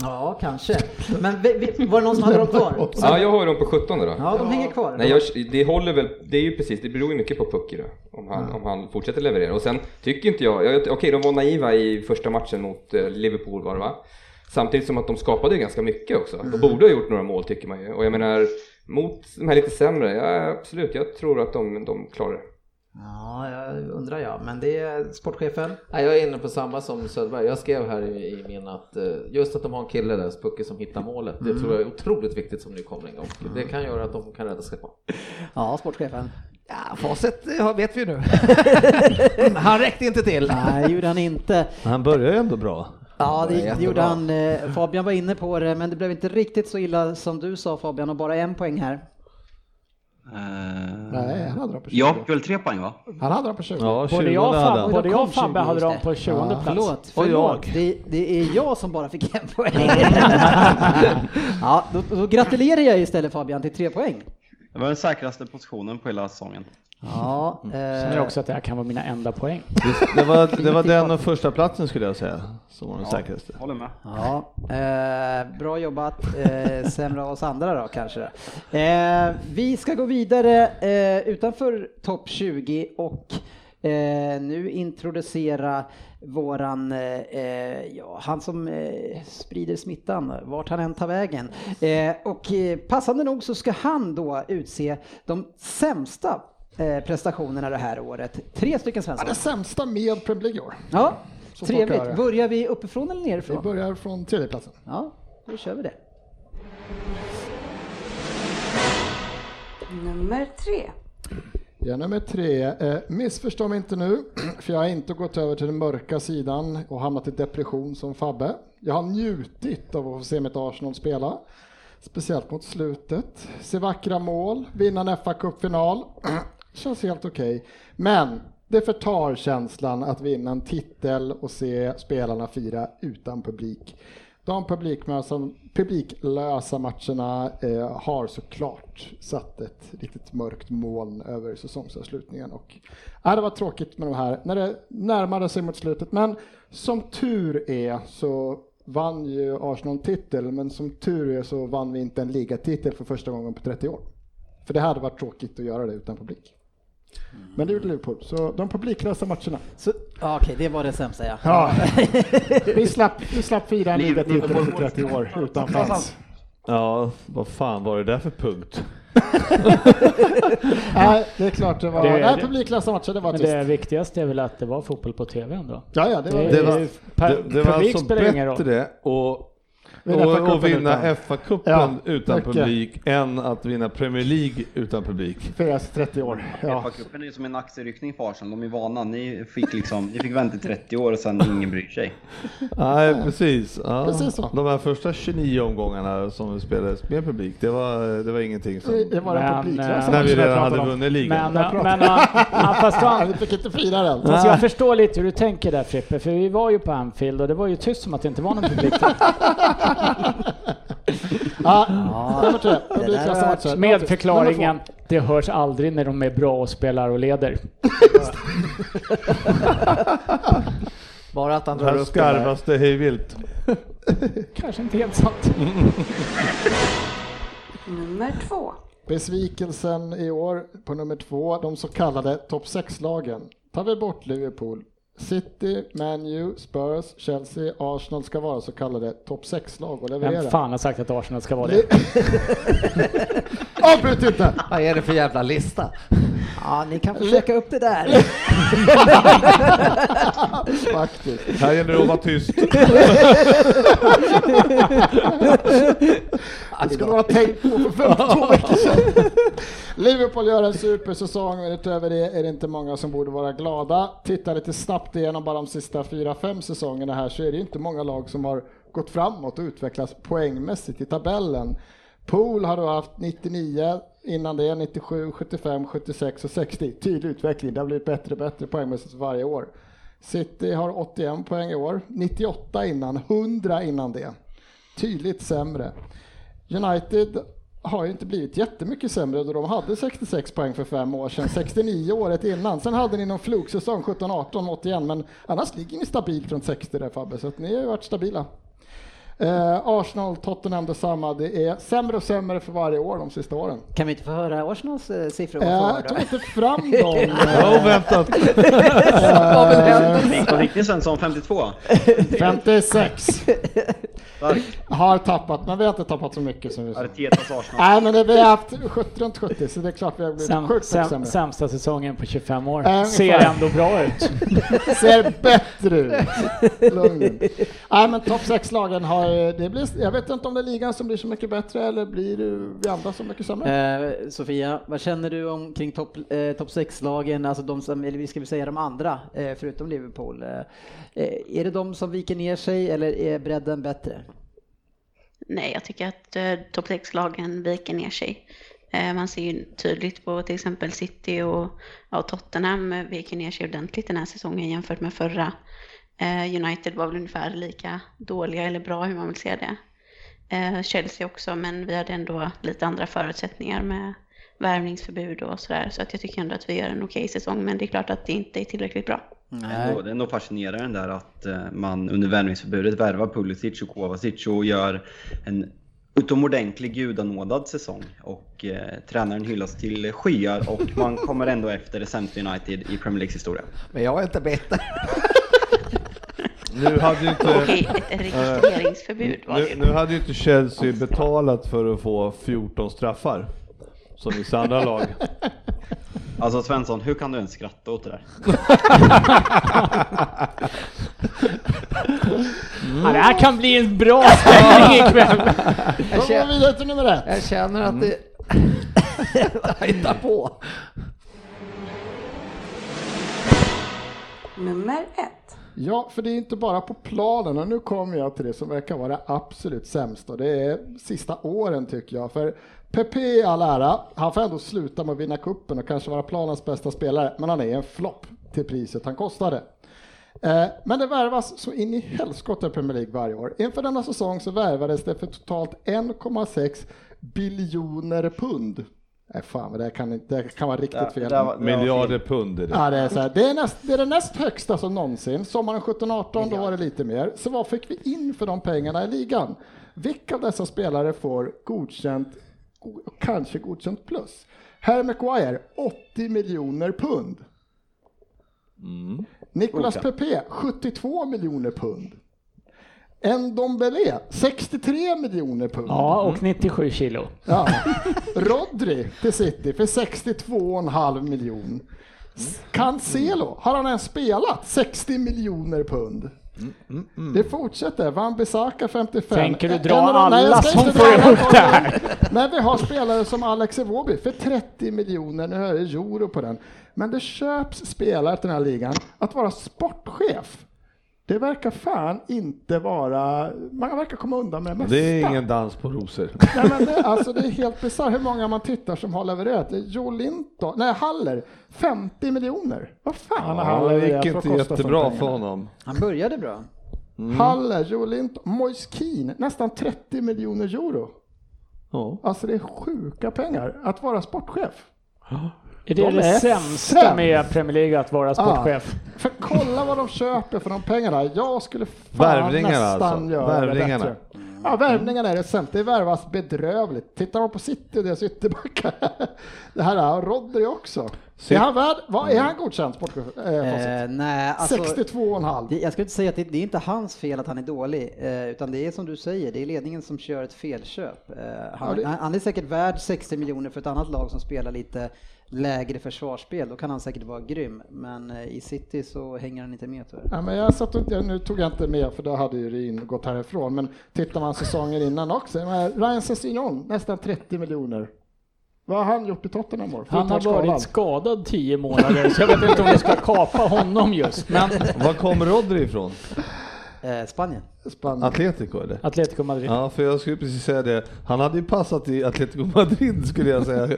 B: Ja, kanske. Men vi- vi- var det någon som hade dem kvar?
K: Ja, jag har ju dem på 17 då.
B: Ja, de hänger kvar.
K: Nej, jag, det håller väl, det är ju precis, det beror ju mycket på Pucky då. Om han, om han fortsätter leverera. Och sen tycker inte jag, jag okej de var naiva i första matchen mot eh, Liverpool var det va? Samtidigt som att de skapade ju ganska mycket också.
G: Mm.
K: Och borde ha gjort några mål tycker man ju. Och jag menar, mot de här lite sämre, ja absolut, jag tror att de, de klarar det.
B: Ja, jag undrar jag. Men det är sportchefen.
G: Nej, jag är inne på samma som Söderberg. Jag skrev här i, i min att eh, just att de har en kille där, Spucke, som hittar målet. Det
B: Mm.
G: tror jag är otroligt viktigt som nykomling och det kan göra att de kan rädda sig på.
B: Ja, sportchefen.
G: Ja,
F: facit
B: eh,
F: vet vi nu. han räckte inte till.
B: Nej, det gjorde han inte.
A: Han börjar ju ändå bra. Det
B: Ja,
A: var
B: det, det
A: jättebra.
B: gjorde han. Eh, Fabian var inne på det, men det blev inte riktigt så illa som du sa Fabian och bara en poäng här.
C: Eh,
H: Nej, han hade dem på 20.
C: Jag fick väl tre poäng va?
H: Han hade dem på 20.
C: Ja,
E: Både jag och Fab- både jag och Fabbe hade dem på 20
B: Ja,
E: plats.
B: Förlåt,
E: Och
B: förlåt.
E: jag.
B: Det, det är jag som bara fick en poäng. ja, då, då gratulerar jag istället Fabian till tre poäng.
C: Det var den säkraste positionen på hela säsongen.
B: Ja, eh,
E: Känner också att Mm. det här kan vara mina enda poäng.
A: Det var, det var den och första platsen skulle jag säga, som var den
B: Ja.
A: säkraste.
C: Håller med.
B: Ja, eh, bra jobbat. Eh, sämre av oss andra då kanske. Eh, vi ska gå vidare eh, utanför topp 20 och eh, nu introducera våran, eh, eh, ja, han som eh, sprider smittan, vart han än tar vägen. Eh, och eh, passande nog så ska han då utse de sämsta eh, prestationerna det här året. Tre stycken
H: Ja,
B: svenskar.
H: det sämsta med Premier League i år.
B: Ja,
H: Så får
B: trevligt.
H: Klara.
B: Börjar vi uppifrån eller nerifrån?
H: Vi börjar från tredjeplatsen.
B: Ja, då kör vi det.
I: Nummer tre.
H: Ja, nummer tre. Eh, missförstå mig inte nu, för jag har inte gått över till den mörka sidan och hamnat i depression som Fabbe. Jag har njutit av att få se mitt Arsenal spela, speciellt mot slutet. Se vackra mål, vinna en fa Cup-final. Känns helt okej. Men det förtar känslan att vinna en titel och se spelarna fira utan publik. De publiklösa, publiklösa matcherna eh, har såklart satt ett riktigt mörkt moln över säsongsavslutningen. Och, ja, det var tråkigt med de här när det närmade sig mot slutet, men som tur är så vann ju Arsenal titel, men som tur är så vann vi inte en ligatitel för första gången på 30 år. För det hade varit tråkigt att göra det utan publik. Men det gjorde Liverpool, så de publiklösa matcherna.
B: Ja, Okej, det var det sämsta ja.
H: Ja. vi, slapp, vi slapp fira en
E: Liverpool-
H: ligatitel på 30 år utan fans.
A: Ja, vad fan var det där för punkt?
H: Nej, det är klart det var.
E: Det-
H: nej,
E: det-
H: publiklösa matcher, det var
E: Men
H: trist.
E: det viktigaste är väl att det var fotboll på TV ändå?
H: Ja, ja, det var-
A: Det var,
E: ju-
A: det,
E: per-
A: det var
E: publik
A: alltså
E: spelar ingen roll.
A: bättre att och,
E: Vinna FA-cupen
A: och vinna
E: utan.
A: FA-cupen
H: Ja,
A: utan
H: mycket.
A: publik än att vinna Premier League utan publik.
H: För deras 30 år. Ja.
C: FA-cupen är ju som en axelryckning för Arsenal, de är vana. Ni fick, liksom, ni fick vänta i 30 år och sen ingen bryr sig.
A: Nej, precis. Ja.
H: Precis så.
A: De här första 29 omgångarna som vi spelade med publik, det var, det var ingenting som...
H: Det var den publiklösa
A: När vi
H: matchen jag
A: redan
H: pratade
A: hade
H: om.
A: vunnit ligan.
H: Jag
E: eh, Men, eh,
H: pratar-
E: men, ja, ja, fast han-
H: Vi fick inte fira den.
E: Fast jag förstår lite hur du tänker där Frippe, för vi var ju på Anfield och det var ju tyst som att det inte var någon publik.
H: Ja, nummer tre. Publiklösa matcher.
E: Med förklaringen, det hörs aldrig när de är bra och spelar och leder.
B: Bara att han drar
A: Här
B: upp den där.
A: skarvas det hej vilt.
E: Kanske inte helt sant.
I: Nummer två.
H: Besvikelsen i år på nummer två, de så kallade topp 6-lagen. Tar vi bort Liverpool, City, Man U, Spurs, Chelsea, Arsenal ska vara så kallade topp 6-lag och leverera.
E: Vem fan har sagt att Arsenal ska vara det?
H: Avbryt inte!
G: Vad är det för jävla lista?
B: Ja, ni kan försöka upp det där.
H: Faktiskt.
A: Här gäller det att vara tyst.
H: Det skulle man ha tänkt på för 15 veckor sedan. Liverpool gör en supersäsong och utöver det är det inte många som borde vara glada. Titta lite snabbt igenom bara de sista 4-5 säsongerna här så är det ju inte många lag som har gått framåt och utvecklats poängmässigt i tabellen. Pool har då haft 99 innan det, 97, 75, 76 och 60. Tydlig utveckling, det har blivit bättre och bättre poängmässigt varje år. City har 81 poäng i år, 98 innan, 100 innan det. Tydligt sämre. United har ju inte blivit jättemycket sämre då de hade 66 poäng för fem år sedan, 69 året innan. Sen hade ni någon flugsäsong 17, 18, 81 men annars ligger ni stabilt runt 60 där Fabbe, så att ni har ju varit stabila. Eh, Arsenal, Tottenham detsamma. Det är sämre och sämre för varje år de sista åren.
B: Kan vi inte få höra Arsenals eh, siffror?
H: Eh,
B: varför
H: jag
B: var det?
H: tog inte fram dem. Eh,
A: Ja, oväntat.
H: Vad väl hänt?
C: Vad fick ni Svensson? 52?
H: 56
C: Starkt.
H: har tappat, men vi har inte tappat så mycket som vi sa.
C: Artetas Arsenal.
H: Nej, men det, vi har haft 70 runt 70, så det är klart vi har blivit
E: Säm,
H: sjukt mycket
E: säm,
H: sämre.
E: sämsta säsongen på 25 år.
H: Äh, ungefär.
E: Ser ändå bra ut.
H: Ser bättre ut. Lugn nu. Nej, men topp 6-lagen har... eh, Det blir, jag vet inte om det är ligan som blir så mycket bättre eller blir det vi andra så mycket sämre.
B: Eh, Sofia, vad känner du om kring topp eh, top 6-lagen, alltså de som, eller vi ska väl säga de andra, eh, förutom Liverpool. Eh, eh, är det de som viker ner sig eller är bredden bättre?
D: Nej, jag tycker att eh, topp 6-lagen viker ner sig. Eh, man ser ju tydligt på till exempel City och, ja, och Tottenham eh, viker ner sig ordentligt den här säsongen jämfört med förra. Eh, United var väl ungefär lika dåliga eller bra hur man vill se det. Eh, Chelsea också, men vi hade ändå lite andra förutsättningar med värvningsförbud och sådär. Så att jag tycker ändå att vi gör en okej säsong, men det är klart att det inte är tillräckligt bra.
C: Ändå, det är nog fascinerande där att eh, man under värvningsförbudet värvar Pulisic och Kovacic och gör en utomordentlig gudanådad säsong. Och eh, tränaren hyllas till skyar och man kommer ändå efter det sämsta United i Premier Leagues historia.
G: Men jag är inte bättre.
A: Nu hade ju inte... eh,
D: Okej, ett registreringsförbud var det
A: Nu, nu hade ju inte Chelsea betalat för att få 14 straffar. Som vissa andra lag.
C: Alltså Svensson, hur kan du ens skratta åt det där?
E: Ja, det här kan bli en bra stämning ikväll.
H: Då går vi vidare till nummer ett.
G: Jag känner att det... jag hittar på.
I: Nummer ett.
H: Ja, för det är inte bara på planen och nu kommer jag till det som verkar vara det absolut sämsta. Det är sista åren tycker jag. För Pepe i all ära, han får ändå sluta med att vinna kuppen och kanske vara planens bästa spelare, men han är en flopp till priset han kostade. Eh, Men det värvas så in i helskotta i Premier League varje år. Inför denna säsong så värvades det för totalt 1,6 biljoner pund. Nej fan, men det här kan, inte- det här kan vara riktigt
A: Där-
H: fel.
A: där var- där var Miljarder fel. pund är det.
H: det. Ja, det, är så här, det, är näst, det är det näst högsta som någonsin. Sommaren 17-18, då var det lite mer. Så vad fick vi in för de pengarna i ligan? Vilka av dessa spelare får godkänt, go- kanske godkänt plus? Harry Maguire, 80 miljoner pund. Nicolas
A: Olika.
H: Pepe, 72 miljoner pund. Ndombele, 63 miljoner pund.
E: Ja, och 97 kilo.
H: Ja. Rodri till City för 62,5 miljon. S- Cancelo, har han ens spelat? 60 miljoner pund. Det fortsätter. Wan-Bissaka 55.
E: Tänker du
H: En
E: dra
H: av de- Nej, jag
E: alla
H: ska
E: som
H: inte
E: får
H: dra
E: ihop det
H: alla.
E: här?
H: Men vi har spelare som Alex Iwobi för 30 miljoner. Nu är det euro på den. Men det köps spelare till den här ligan. Att vara sportchef, det verkar fan inte vara... Man verkar komma undan med det mesta.
A: Det är ingen dans på rosor.
H: Nej, men det, alltså, det är helt bisarrt hur många man tittar som har levererat. Joe Linton, nej Haller, 50 miljoner. Vad fan har han
A: Ja, det
H: levererat
A: gick
H: för att
A: inte
H: kosta de
A: jättebra
H: pengarna?
A: för honom. Mm.
B: Han började bra.
H: Haller, Joe Linton, Moise Keane, nästan 30 miljoner euro. Alltså det är sjuka pengar att vara sportchef.
E: Är det
H: De
E: det
H: är
E: sämsta
H: sämst.
E: med Premier League att vara sportchef?
H: Ah, för kolla vad de köper för de pengarna. Jag skulle fan
A: Värvningarna
H: nästan
A: alltså.
H: göra
A: Värvningarna.
H: det bättre. Ja, värvningarna är det sämsta. Det värvas bedrövligt. Tittar man på City och deras ytterbackar. Det här är Rodri också.
B: City-
H: Är han värd? Vad är han godkänd sportchef? Eh,
B: Eh,
H: facit?
B: nej, alltså,
H: 62,5.
B: det- Jag skulle inte säga att det, det är inte hans fel att han är dålig, eh, utan det är som du säger, det är ledningen som kör ett felköp. Eh, han,
H: Ja, det-
B: han han är säkert värd 60 miljoner för ett annat lag som spelar lite lägre försvarsspel, då kan han säkert vara grym, men eh, i City så hänger han inte med tyvärr.
H: Ja, men jag satt och, jag- nu tog jag inte med för då hade ju Rin gått härifrån. Men tittar man säsonger innan också. Men Ryan Sessignon, nästan 30 miljoner. Vad har han gjort i Tottenham år?
E: Han har
H: Förutom skadan.
E: varit skadad 10 månader, så jag vet inte om vi ska kapa honom just. Men
A: Var kom Rodri ifrån?
B: Eh, Spanien.
A: Atletico eller?
E: Atletico Madrid.
A: Ja, för jag skulle precis säga det. Han hade ju passat i Atletico Madrid skulle jag säga. Så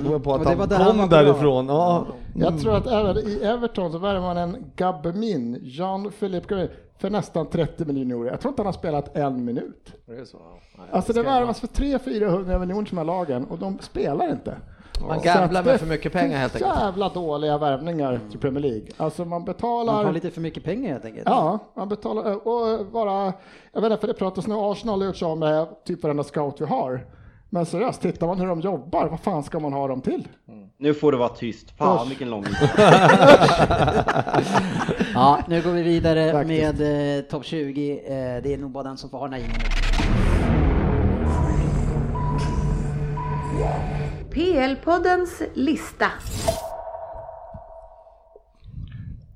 A: kom jag på
H: Och
A: att
H: det
A: han
H: var
A: kom
H: där han var bra. Mm.
A: därifrån. Ja.
H: Jag tror att även i Everton så värvar man en Gabmin, Jean-Philippe Gabmin, för nästan 30 miljoner euro. Jag tror inte han har spelat en minut.
F: Det är så. Nej,
H: Alltså det
F: ska jag-
H: värvas för 300-400 miljoner till de här lagen och de spelar inte.
F: Man
H: Så
F: gamblar
H: att
F: med
H: det är
F: för mycket pengar helt enkelt.
H: Jävla dåliga värvningar
E: Mm.
H: till Premier League. Alltså man betalar...
B: Han har lite för mycket pengar helt enkelt.
H: Ja, man betalar eh, och bara, jag vet inte för det pratas nu, Arsenal har gjort sig av med typ varenda scout vi har. Men seriöst, tittar man hur de jobbar, vad fan ska man ha dem till?
C: Mm. Nu får det vara tyst. Fan
H: Usch.
C: vilken lång
B: ja, nu går vi vidare med eh, topp 20. Eh, det är nog bara den som får ha den här jingeln.
I: PL-poddens lista.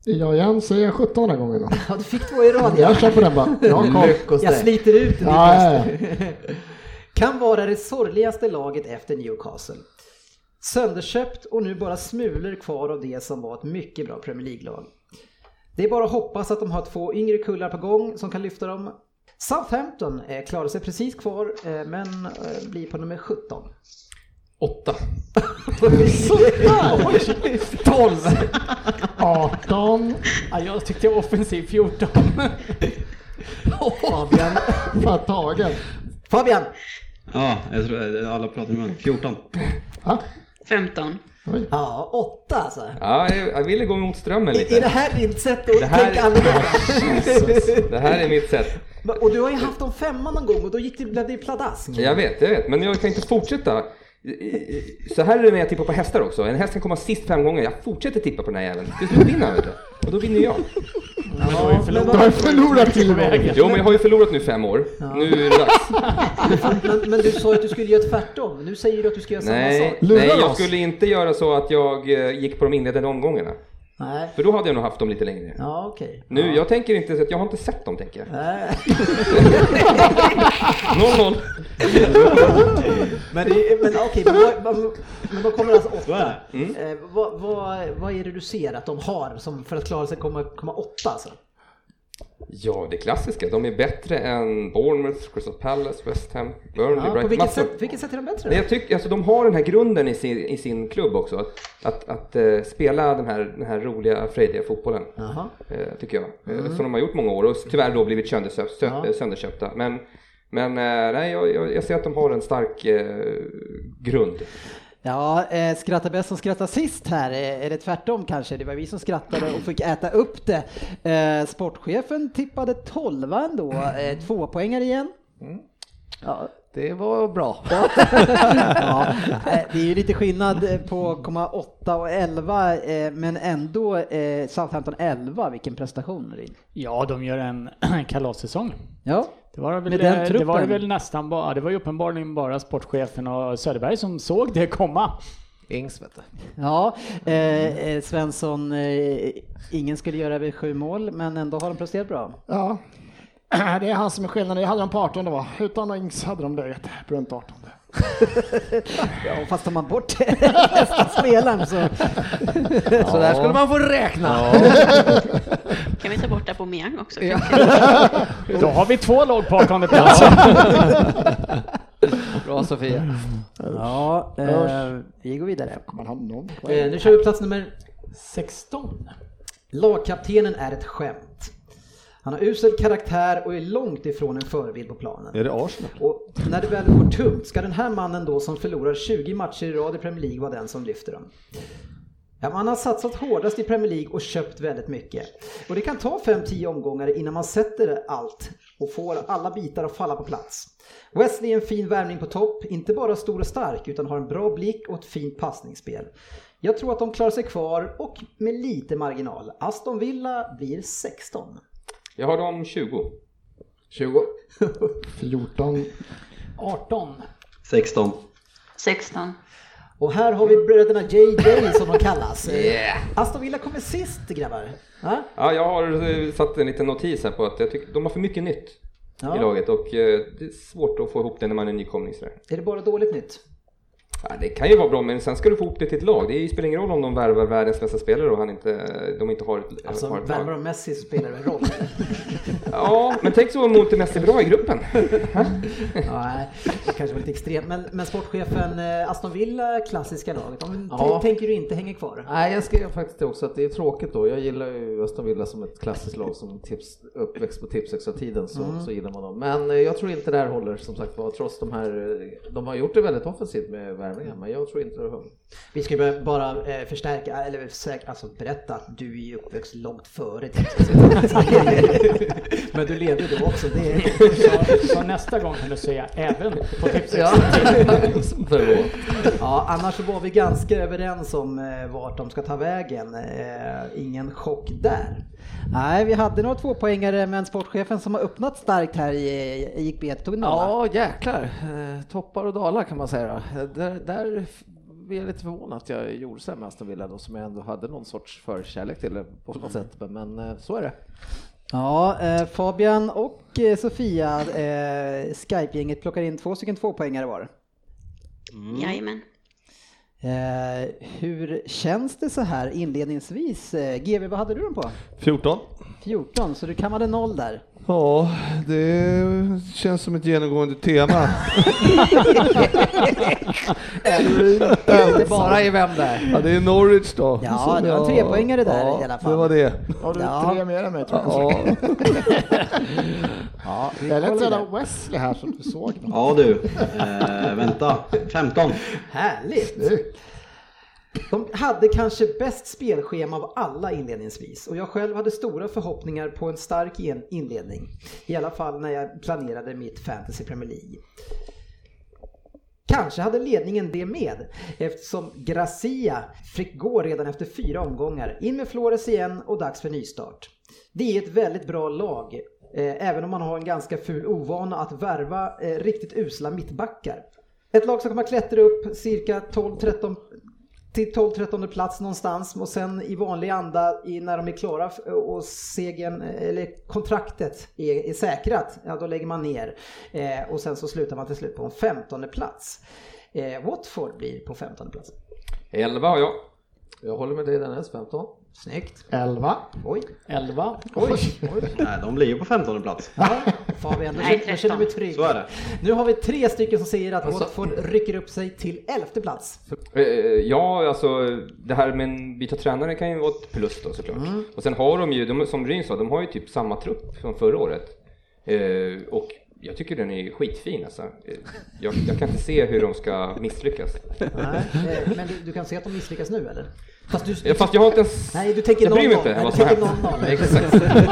H: Jag igen säger 17 gånger då.
B: Ja, Mm. du fick två i rad.
H: Jag kör på den bara. Jag har koll. Lyckos
B: Jag
H: dig.
B: sliter ut det.
H: Ja,
B: kan vara det sorgligaste laget efter Newcastle. Sönderköpt och nu bara smulor kvar av det som var ett mycket bra Premier League-lag. Det är bara att hoppas att de har två yngre kullar på gång som kan lyfta dem. Southampton eh, klarar sig precis kvar eh, men eh, blir på nummer 17.
G: 8.
H: Sådär!
E: 12!
H: 18.
E: Ja, jag tyckte jag var offensiv 14.
B: Fabian.
H: Fan tagen.
B: Fabian!
C: Ja, jag tror alla pratar i mun. 14.
D: 15.
B: Ja, 8 alltså.
K: Ja, jag, jag ville gå mot strömmen
B: Är är det
K: lite.
B: här ditt sätt att
K: Det här-
B: tänka annorlunda?
K: Det här är mitt sätt.
B: Men- Och du har ju haft dem femma någon gång och då gick det, blev det pladask.
K: Jag vet, jag vet. Men jag tänkte fortsätta. Så här är det när jag tippar på hästar också. En häst kan komma sist fem gånger. Jag fortsätter tippa på den här jäveln. Till slut vinner han vet du. Och då vinner jag.
H: Du har ju förlorat till vägen.
K: Jo, men jag har ju förlorat nu fem år. Nu är det dags.
B: Men, men du sa ju att du skulle göra tvärtom. Nu säger du att du ska göra samma
K: Nej,
B: sak.
K: nej, jag skulle inte göra så att jag eh, gick på de inledande omgångarna.
B: Nej.
K: För då hade jag nog haft dem lite längre.
B: Ja, okej.
K: Nu, jag tänker inte, så att jag har inte sett dem tänker jag.
B: Nej.
K: 0-0.
B: Men, det- men okej, men vad- vad- men då kommer alltså åtta.
K: Mm.
B: Eh, vad, vad, vad är det du ser att de har som för att klara sig komma, komma åtta alltså?
K: Ja, det klassiska. De är bättre än Bournemouth, Crystal Palace, West Ham, Burnley,
B: Ja, på
K: Brighton.
B: vilket
K: Massor.
B: sätt, vilket sätt är de bättre?
K: Men jag tycker, alltså de har den här grunden i sin, i sin klubb också. Att, att, att eh, spela den här, den här roliga, frejdiga fotbollen.
B: Jaha.
K: Eh, tycker jag.
B: Mm.
K: Eh, som de har gjort många år och tyvärr då blivit söndersö- sö-
B: Ja.
K: eh, sönderköpta. Men, men eh, nej, jag, jag, jag ser att de har en stark eh, grund.
B: Ja, eh, skratta bäst som skrattar sist här, eh, eller tvärtom kanske. Det var vi som skrattade och fick äta upp det. Eh, sportchefen tippade 12 ändå, eh, två poängar igen. Ja.
F: Mm. Det var bra.
B: ja, eh, det är ju lite skillnad eh, på 0,8 och 11, eh, men ändå eh, Southampton 11, vilken prestation Rin.
E: Ja, de gör en kalassäsong.
B: Ja,
E: Det var, väl,
B: Med den
E: det
B: truppen.
E: var det väl nästan bara, det var ju uppenbarligen bara sportchefen och Söderberg som såg det komma.
F: Ings vet du.
B: ja eh, eh, Svensson, eh, ingen skulle göra över sju mål, men ändå har de presterat bra.
H: Ja. Det är han som är skillnaden. Det hade de på 18 va? Utan Ings hade de legat på runt 18.
B: Ja, och fast tar man bort nästa spelaren så...
F: Så där skulle man få räkna.
D: Kan vi ta bort Aubameyang också?
B: Ja.
E: Då har vi två lag på 18 plats.
F: Bra Sofia.
B: Ja, eh, vi går vidare.
H: Man har någon
B: Eh, nu kör vi plats nummer
E: 16.
B: Lagkaptenen är ett skämt. Han har usel karaktär och är långt ifrån en förebild på planen.
A: Är det Arsenal?
B: Och när det väl går tungt, ska den här mannen då som förlorar 20 matcher i rad i Premier League vara den som lyfter dem? Ja, man har satsat hårdast i Premier League och köpt väldigt mycket. Och det kan ta 5-10 omgångar innan man sätter allt och får alla bitar att falla på plats. Wesley är en fin värvning på topp, inte bara stor och stark utan har en bra blick och ett fint passningsspel. Jag tror att de klarar sig kvar och med lite marginal. Aston Villa blir 16.
K: Jag har dem 20.
G: 20.
H: 14.
E: 18.
C: 16.
D: 16.
B: Och här har vi bröderna JJ som de kallas.
K: Yeah.
B: Aston Villa kommer sist grabbar. Ja?
K: Ja, jag har eh, satt en liten notis här på att jag tycker de har för mycket nytt
B: Ja.
K: i laget och eh, det är svårt att få ihop det när man är nykomling sådär.
B: Är det bara dåligt nytt?
K: Ja, det kan ju vara bra, men sen ska du få ihop det till ett lag. Det spelar ingen roll om de värvar världens bästa spelare och han inte, de inte har ett,
B: Alltså
K: har ett
B: värvar
K: lag.
B: de Messi så spelar det väl roll?
K: Ja, men tänk så om inte Messi är bra i gruppen.
B: Nej, det kanske var lite extremt. Men, men sportchefen, eh, Aston Villa, klassiska laget, de t-
G: Ja.
B: tänker du inte hänger kvar?
G: Nej, jag skrev faktiskt det också att det är tråkigt då. Jag gillar ju Aston Villa som ett klassiskt lag som tips, uppväxt på Tipsextra-tiden så,
B: Mm.
G: så gillar man dem. Men eh, jag tror inte det här håller som sagt var trots de här. eh, De har gjort det väldigt offensivt med
F: Mm.
G: värvningar men jag tror inte det håller.
B: Vi ska bara- bara eh, förstärka, eller säk- alltså berätta att du är ju uppväxt långt före det. Men du levde då också. Det är...
E: Så, så nästa gång kan du säga även på typ tipset.
B: Ja.
G: Förlåt.
B: ja, annars så var vi ganska överens om eh, vart de ska ta vägen. Eh, ingen chock där. Nej, vi hade några tvåpoängare men sportchefen som har öppnat starkt här i, gick bet, tog
F: Ja, jäklar. Eh, Toppar och dalar kan man säga. då. Eh, Där, där f- blev jag lite förvånad att jag gjorde så här med Aston Villa då, som jag ändå hade någon sorts förkärlek till det på något
G: Mm.
F: sätt. Men, Men eh, så är det.
B: Ja, eh, Fabian och eh, Sofia, eh, Skype-gänget plockar in två stycken tvåpoängare var.
D: Jajamän.
B: Eh, hur känns det så här inledningsvis? Eh, GV, vad hade du den på?
A: 14.
B: 14, så du kammade noll där.
A: Ja, det känns som ett genomgående tema.
F: Inte bara i vem där.
A: Ja, det är Norwich då.
B: Ja,
A: Som
B: det var
A: jag-
B: en trepoängare där
A: ja,
B: i alla fall.
A: det var det.
H: Har du
B: Ja.
H: tre mer än mig tror jag?
A: Ja,
F: Ja, vi
H: Jag lät
F: kollar
H: redan
F: vidare.
H: Wesley här som du såg. den.
C: Ja du, eh, vänta. 15.
B: Härligt! De hade kanske bäst spelschema av alla inledningsvis och jag själv hade stora förhoppningar på en stark en- inledning. I alla fall när jag planerade mitt Fantasy Premier League. Kanske hade ledningen det med eftersom Gracia fick gå redan efter fyra omgångar. In med Flores igen och dags för nystart. Det är ett väldigt bra lag, eh, även om man har en ganska ful ovana att värva eh, riktigt usla mittbackar. Ett lag som kommer att klättra upp cirka 12-13 till 12-13 plats någonstans och sen i vanlig anda i, när de är klara f- och segern, eller kontraktet är, är säkrat, ja då lägger man ner. Eh, och sen så slutar man till slut på en 15 plats. Eh, Watford blir på 15 plats.
K: 11 har jag.
G: Jag håller med dig Dennis, 15.
B: Snyggt.
H: 11.
B: Oj.
E: 11.
H: Oj.
C: Nej, de blir ju på 15 plats.
B: Ja, Fabian, då
D: Nej,
B: känner, då känner vi trygg.
C: Så är det.
B: Nu har vi tre stycken som säger att
G: Alltså-
B: Watford rycker upp sig till 11 plats.
K: Eh, Ja, alltså det här med en byta tränare kan ju vara ett plus då såklart.
L: Mm.
K: Och sen har de ju, de, som Ryn sa, de har ju typ samma trupp som förra året. Eh, Och jag tycker den är skitfin alltså. Eh, Jag, jag kan inte se hur de ska misslyckas.
L: Nej, eh, men du, du kan se att de misslyckas nu eller? Fast, du,
K: Ja, fast jag har inte ens...
L: Nej, du tänker
K: jag bryr mig
L: 0-0.
K: inte
L: Nej,
K: vad
L: du
K: som
L: tänker
K: hänt.
L: 0-0.
K: Exakt.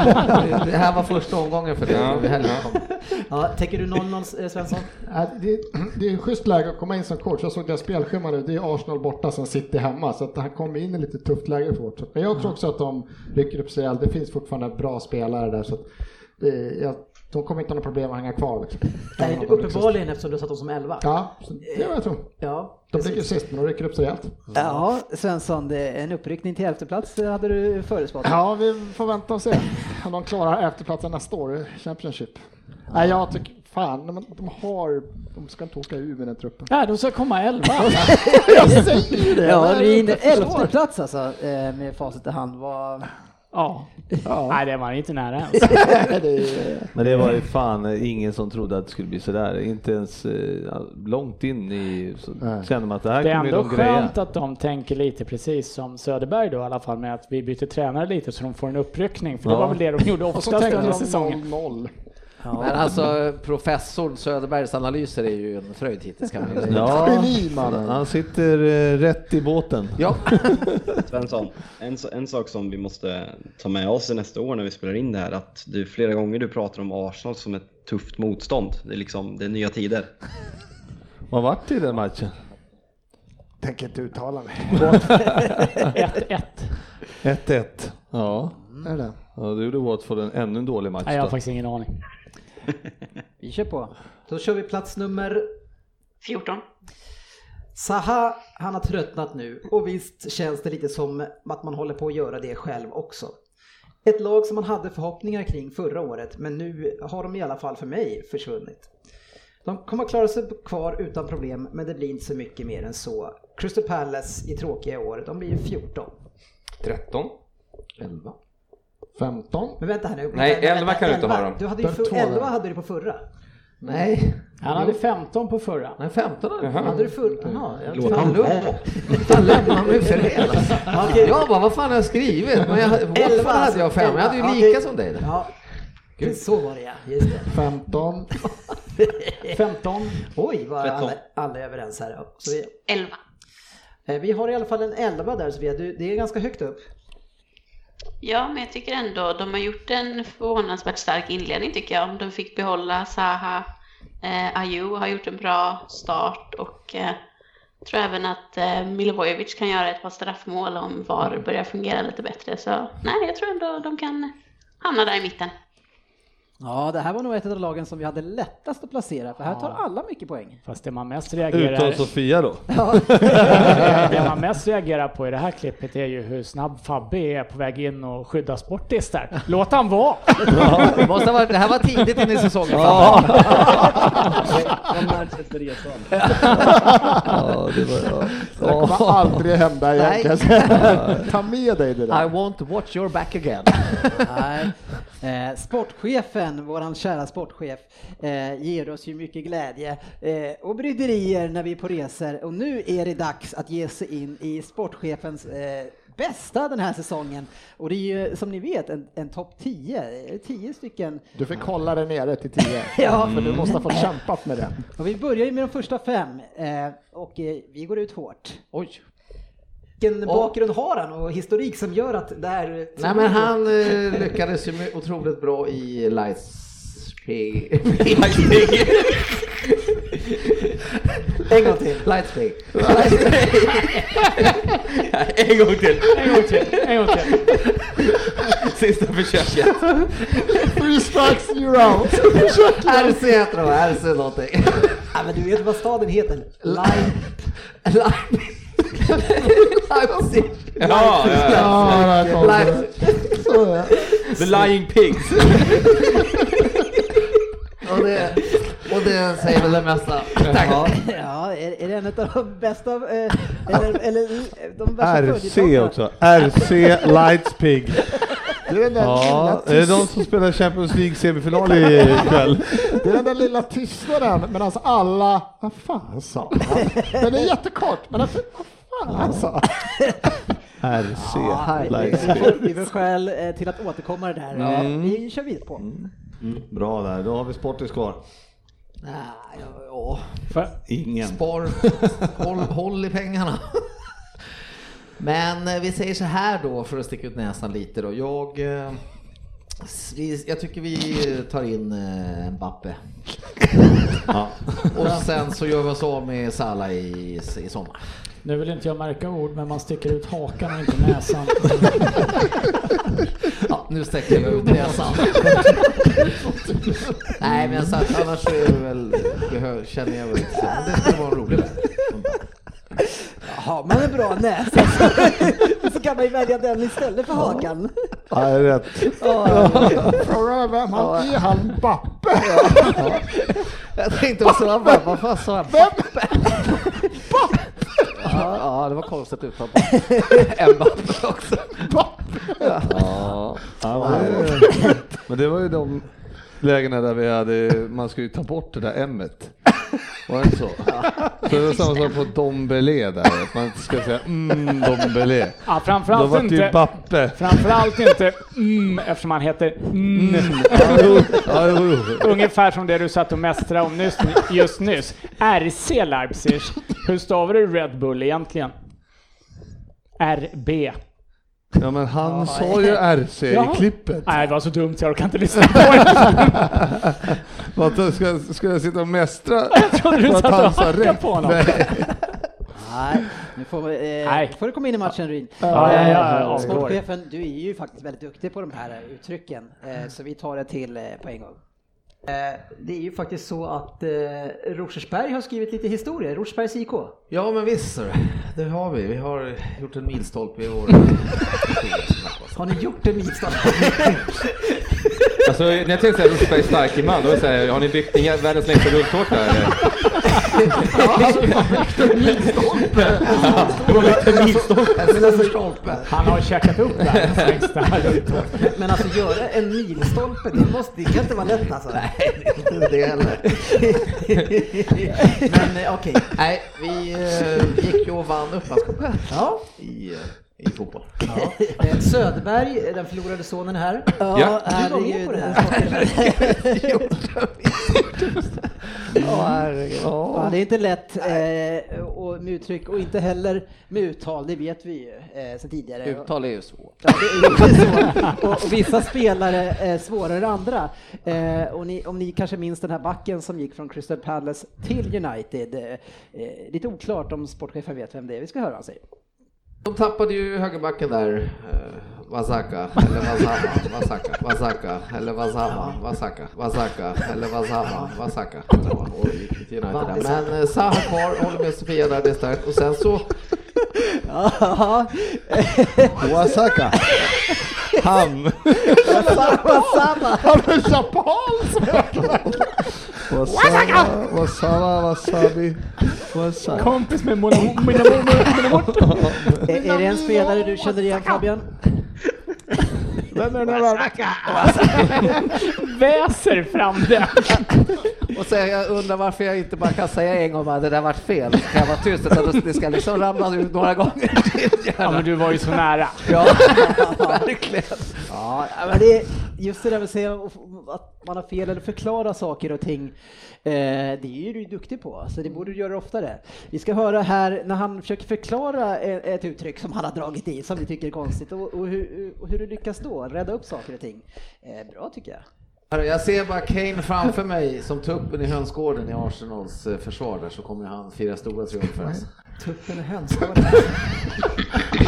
G: Det här var första omgången för dig.
K: Ja.
G: Det här-
H: liksom-
L: Ja, tänker du 0-0 eh, Svensson?
H: Ja, Det, det är schysst läge att komma in som coach. Jag såg deras spelschema nu. Det är Arsenal borta, sen City hemma. Så att han kommer in i lite tufft läge för vårt. Men jag tror också att de rycker upp sig. Det finns fortfarande bra spelare där. Så att det, jag, de kommer inte ha några problem att hänga kvar. Liksom.
L: Nej,
H: Även om de rycks sist.
L: uppenbarligen eftersom du har satt dem som 11.
H: Ja, så det är vad jag tror.
L: Ja,
H: De
L: precis.
H: ligger sist, men de rycker upp sig rejält.
B: Ja, Svensson, det är en uppryckning till elfteplats eh, hade du förespått.
H: Ja, vi får vänta och se om de klarar efterplatsen nästa år i Championship. Nej, jag tycker fan, de, de har... De ska inte åka ur med den truppen.
E: Nej, de ska komma elva.
H: jag säger ju det!
B: Ja, du är inne
H: Jag förstår.
B: elfteplats alltså eh, med facit i hand. Vad...
E: Ja. Nej, det var inte nära ens.
A: Men det var ju fan ingen som trodde att det skulle bli sådär. Inte ens eh, långt in i så
H: Nej.
A: kände man att det här
E: Det är
A: kommer ju
E: ändå
A: de greja.
E: skönt att de tänker lite precis som Söderberg då i alla fall med att vi byter tränare lite så de får en uppryckning. För det
A: Ja.
E: var väl det de gjorde
H: Och
E: oftast
H: så tänkte
E: under
H: de
E: säsongen.
H: 0-0.
G: Men alltså professor Söderbergs analyser är ju en fröjd hittills kan man ju säga.
A: Ja,
H: Geni, mannen.
A: han sitter eh, rätt i båten.
G: Ja.
C: Svensson, en, s- en sak som vi måste ta med oss i nästa år när vi spelar in det här, att du flera gånger du pratar om Arsenal som ett tufft motstånd. Det är liksom, det är nya tider.
A: Vad vart det i den matchen?
H: Tänker inte uttala mig.
E: 1-1.
A: 1-1. Ja.
H: Mm. Är det?
A: ja, då gjorde Watford en ännu en dålig match.
E: Nej, jag har
A: Då.
E: faktiskt ingen aning.
B: Vi kör på.
L: Då kör vi plats nummer
D: 14.
L: Saha, han har tröttnat nu och visst känns det lite som att man håller på att göra det själv också. Ett lag som man hade förhoppningar kring förra året men nu har de i alla fall för mig försvunnit. De kommer att klara sig kvar utan problem men det blir inte så mycket mer än så. Crystal Palace i tråkiga år, de blir ju 14.
K: 13?
H: 11. 15.
L: Men vänta här nu.
K: Nej,
L: vänta, vänta,
K: 11 kan du inte ha
L: 11.
K: dem.
L: Du hade ju
H: Den
L: för,
H: tål den.
L: 11 hade du på förra.
G: Nej.
E: Han hade 15 på förra.
G: Nej, 15 hade
K: Jaha.
L: Hade du förra? Jaha, jag
G: Låt han vara. Han lämnar mig för det. alltså.
L: Okej.
G: Jag bara, vad fan har jag skrivit? Men jag, varför
L: Elva,
G: hade jag fem? Jag hade
L: elva.
G: ju lika
L: Okej.
G: som dig. där.
L: Ja, så var det ja. Just det.
H: 15.
E: 15.
L: Oj, vad
C: Tretton.
L: alla, alla är överens här. Ja, Så vi,
D: 11.
L: eh, vi har i alla fall en 11 där, så vi har, du- det är ganska högt upp.
D: Ja, men jag tycker ändå de har gjort en förvånansvärt stark inledning tycker jag. De fick behålla Saha, eh, Ayew har gjort en bra start och eh, tror även att eh, Milivojevic kan göra ett par straffmål om VAR
B: Mm.
D: börjar fungera lite bättre. Så nej, jag tror ändå de kan hamna där i mitten.
B: Ja, det här var nog ett av lagen som vi hade lättast att placera för här tar alla mycket poäng.
E: Fast det man mest reagerar...
A: Utom Sofia då.
E: Det man mest reagerar på i det här klippet är ju hur snabb Fabbe är på väg in och skyddas bort det där. Låt han vara!
G: Det, måste ha varit, det här var tidigt in i säsongen.
A: Ja, det var,
H: Det där kommer aldrig hända igen
G: Nej.
H: kan jag säga. Ta med dig det
G: I
H: där.
G: want to watch your back again.
B: Nej. Eh, sportchefen, våran kära sportchef, eh, ger oss ju mycket glädje eh, och bryderier när vi är på resor och nu är det dags att ge sig in i sportchefens eh, bästa den här säsongen och det är ju som ni vet en, en topp 10, eh, 10 stycken
H: Du fick hålla dig nere till Mm. 10.
B: Ja.
H: För du måste ha fått kämpat med den.
B: och vi börjar ju med de första fem eh, och eh, vi går ut hårt.
G: Oj.
L: Vilken bakgrund har han och historik som gör att det här...
G: Nej men han eh, lyckades ju med- otroligt bra i Lightspig. Lightspig.
L: En gång till.
G: Lightspig.
K: en gång till!
E: En gång till, en gång till.
K: Sista försöket.
H: Three strikes you're out.
G: RC heter de, RC någonting.
L: Ja, men du vet vad staden heter?
G: Leipzig. Leipzig.
K: Ja, ja, ja.
H: Ja, där kom det.
G: Leipzig.
H: Så är det.
K: The Lying Pigs.
G: Och det, och det säger väl det mesta. Tack.
B: Ja, är, är det en av de bästa, eh, eller, eller de värsta
A: RC
B: följetongerna?
A: också. RC Lightspig.
H: Det är den där lilla
A: Ja, är det de som spelar Champions League semifinal ikväll?
H: Det är den där lilla tystnaden medan alla, vad fan sa han? Den är jättekort, men alltså, vad fan han sa
A: RC
B: Ja, vi- vi
A: Lightspig. Mm.
B: får- vi får skäl eh, till att återkomma det där. Eh, Vi Mm. kör vidare på.
A: Bra där, då har vi Sportis kvar.
G: Nej, ja, ja.
A: Ingen.
G: Spar, håll, håll i pengarna. Men eh, vi säger så här då för att sticka ut näsan lite då. Jag, eh, s- vi- jag tycker vi tar in eh, Mbappe. Och sen så gör vi oss av med Salah i, i sommar.
E: Nu vill inte jag märka ord, men man sticker ut hakan och inte näsan.
G: Ja, nu sträcker jag ut näsan. Nej, men så att annars så är det väl, behö- känner jag väl inte så. Men det skulle vara en rolig vän.
M: Har man en bra näsa så- så kan man ju välja den istället för hakan.
A: Nej, rätt.
H: Frågan är vem han är, han Bappe?
G: Jag tänkte också, vad fan, vad fan sa jag? Bappe! Ja, ja, det var konstigt uttal på Mbappe också.
A: Ja. men, men det var ju de lägena där vi hade, man skulle ju ta bort det där M-et. Var det inte så? Så det var samma sak på Dombele där, att man inte ska säga mm Dombele.
E: Ja,
A: Då
E: framförallt
A: vart det
E: inte...
A: ju Bappe.
E: Framförallt inte mm, eftersom han heter mm.
A: Ja, jo, ja, jo, jo.
E: Ungefär som det du satt och mästrade om nyss, just nyss. RC Leipzig. Hur stavar du Red Bull egentligen? RB.
A: ja men han sa ju RC i
E: Jaha.
A: klippet.
E: Nej, det var så dumt så jag orkar inte lyssna på det.
A: Vad, då ska, ska jag sitta och mästra?
E: Jag trodde du
A: För att
E: satt och
A: han sa
E: hackade
A: rätt.
E: på honom.
A: Nej.
B: Nej, nu får, vi, eh,
E: Nej.
B: får du komma in i matchen Ryn.
E: Ja, ja, ja,
B: Eh,
E: avgår.
B: Sportchefen, du är ju faktiskt väldigt duktig på de här eh, uttrycken, eh, så vi tar det till eh, på en gång. Eh, Det är ju faktiskt så att eh, Rosersberg har skrivit lite historia, Rosersbergs IK.
G: Ja, men visst så. Det har vi. Vi har gjort en milstolpe i år.
B: Har ni gjort en milstolpe?
K: Alltså, när jag tänker såhär Rosersbergs starke man, då är det såhär, har ni byggt inga världens längsta rulltårta eller?
G: Alltså,
E: Han har käkat upp det här längst där.
M: Men alltså göra en milstolpe, det, måste, det kan inte vara lätt alltså.
G: Inte det heller.
M: Men eh, okej,
G: Nej, vi eh, gick ju och vann upplandscupen
M: ja.
G: i, eh, i fotboll.
M: Eh, Söderberg, eh, den förlorade sonen här.
K: Ja.
B: Eh,
M: Du var med på det här.
G: Ja, herregud.
B: Ja, det är inte lätt eh, och med uttryck och inte heller med uttal, det vet vi ju eh, sedan tidigare.
G: Uttal är ju svårt.
B: Ja, det är ju så. Och, och vissa spelare är svårare än andra. Eh, och ni, om ni kanske minns den här backen som gick från Crystal Palace till United. Eh, eh, lite oklart om sportchefen vet vem det är. Vi ska höra han säger.
G: De tappade ju högerbacken där. eh, Wasaka, eller Wasama, Wasaka, Wasaka, eller Wasama, Wasaka, Wasaka, eller Wasama, Wasaka. eller vad- och gick till United där. Men eh, Zaha kvar, håller med Sofia där, det är starkt. Och sen så
B: Ja,
A: Wasaka. Han.
B: Wasama!
H: Han är japan som
A: Wasaka. Wasama, wasabi. Wasaka.
E: Kompis med Monomo- Minomo- Minomort.
B: Är, är det en spelare du känner igen Fabian?
E: Vem är den där? Väser fram det.
G: Och så jag undrar varför jag inte bara kan säga en gång att det där vart fel. Så kan jag vara tyst utan det- det ska liksom ramla ut några gånger till.
E: Ja,
G: gärna.
E: men du var ju så nära.
G: Ja, verkligen.
B: Ja, men det är just det där med att säga att man har fel eller förklara saker och ting. eh, Det är du ju duktig på, så det borde du göra oftare. Vi ska höra här när han försöker förklara e- ett uttryck som han har dragit i som vi tycker är konstigt och, och, hur, och hur du lyckas då rädda upp saker och ting. Eh, Bra tycker jag.
G: Hörru, Jag ser bara Kane framför mig som tuppen i hönsgården i Arsenals eh, försvar där så kommer han fira stora triumfer. alltså.
M: Tuppen och hönsgården.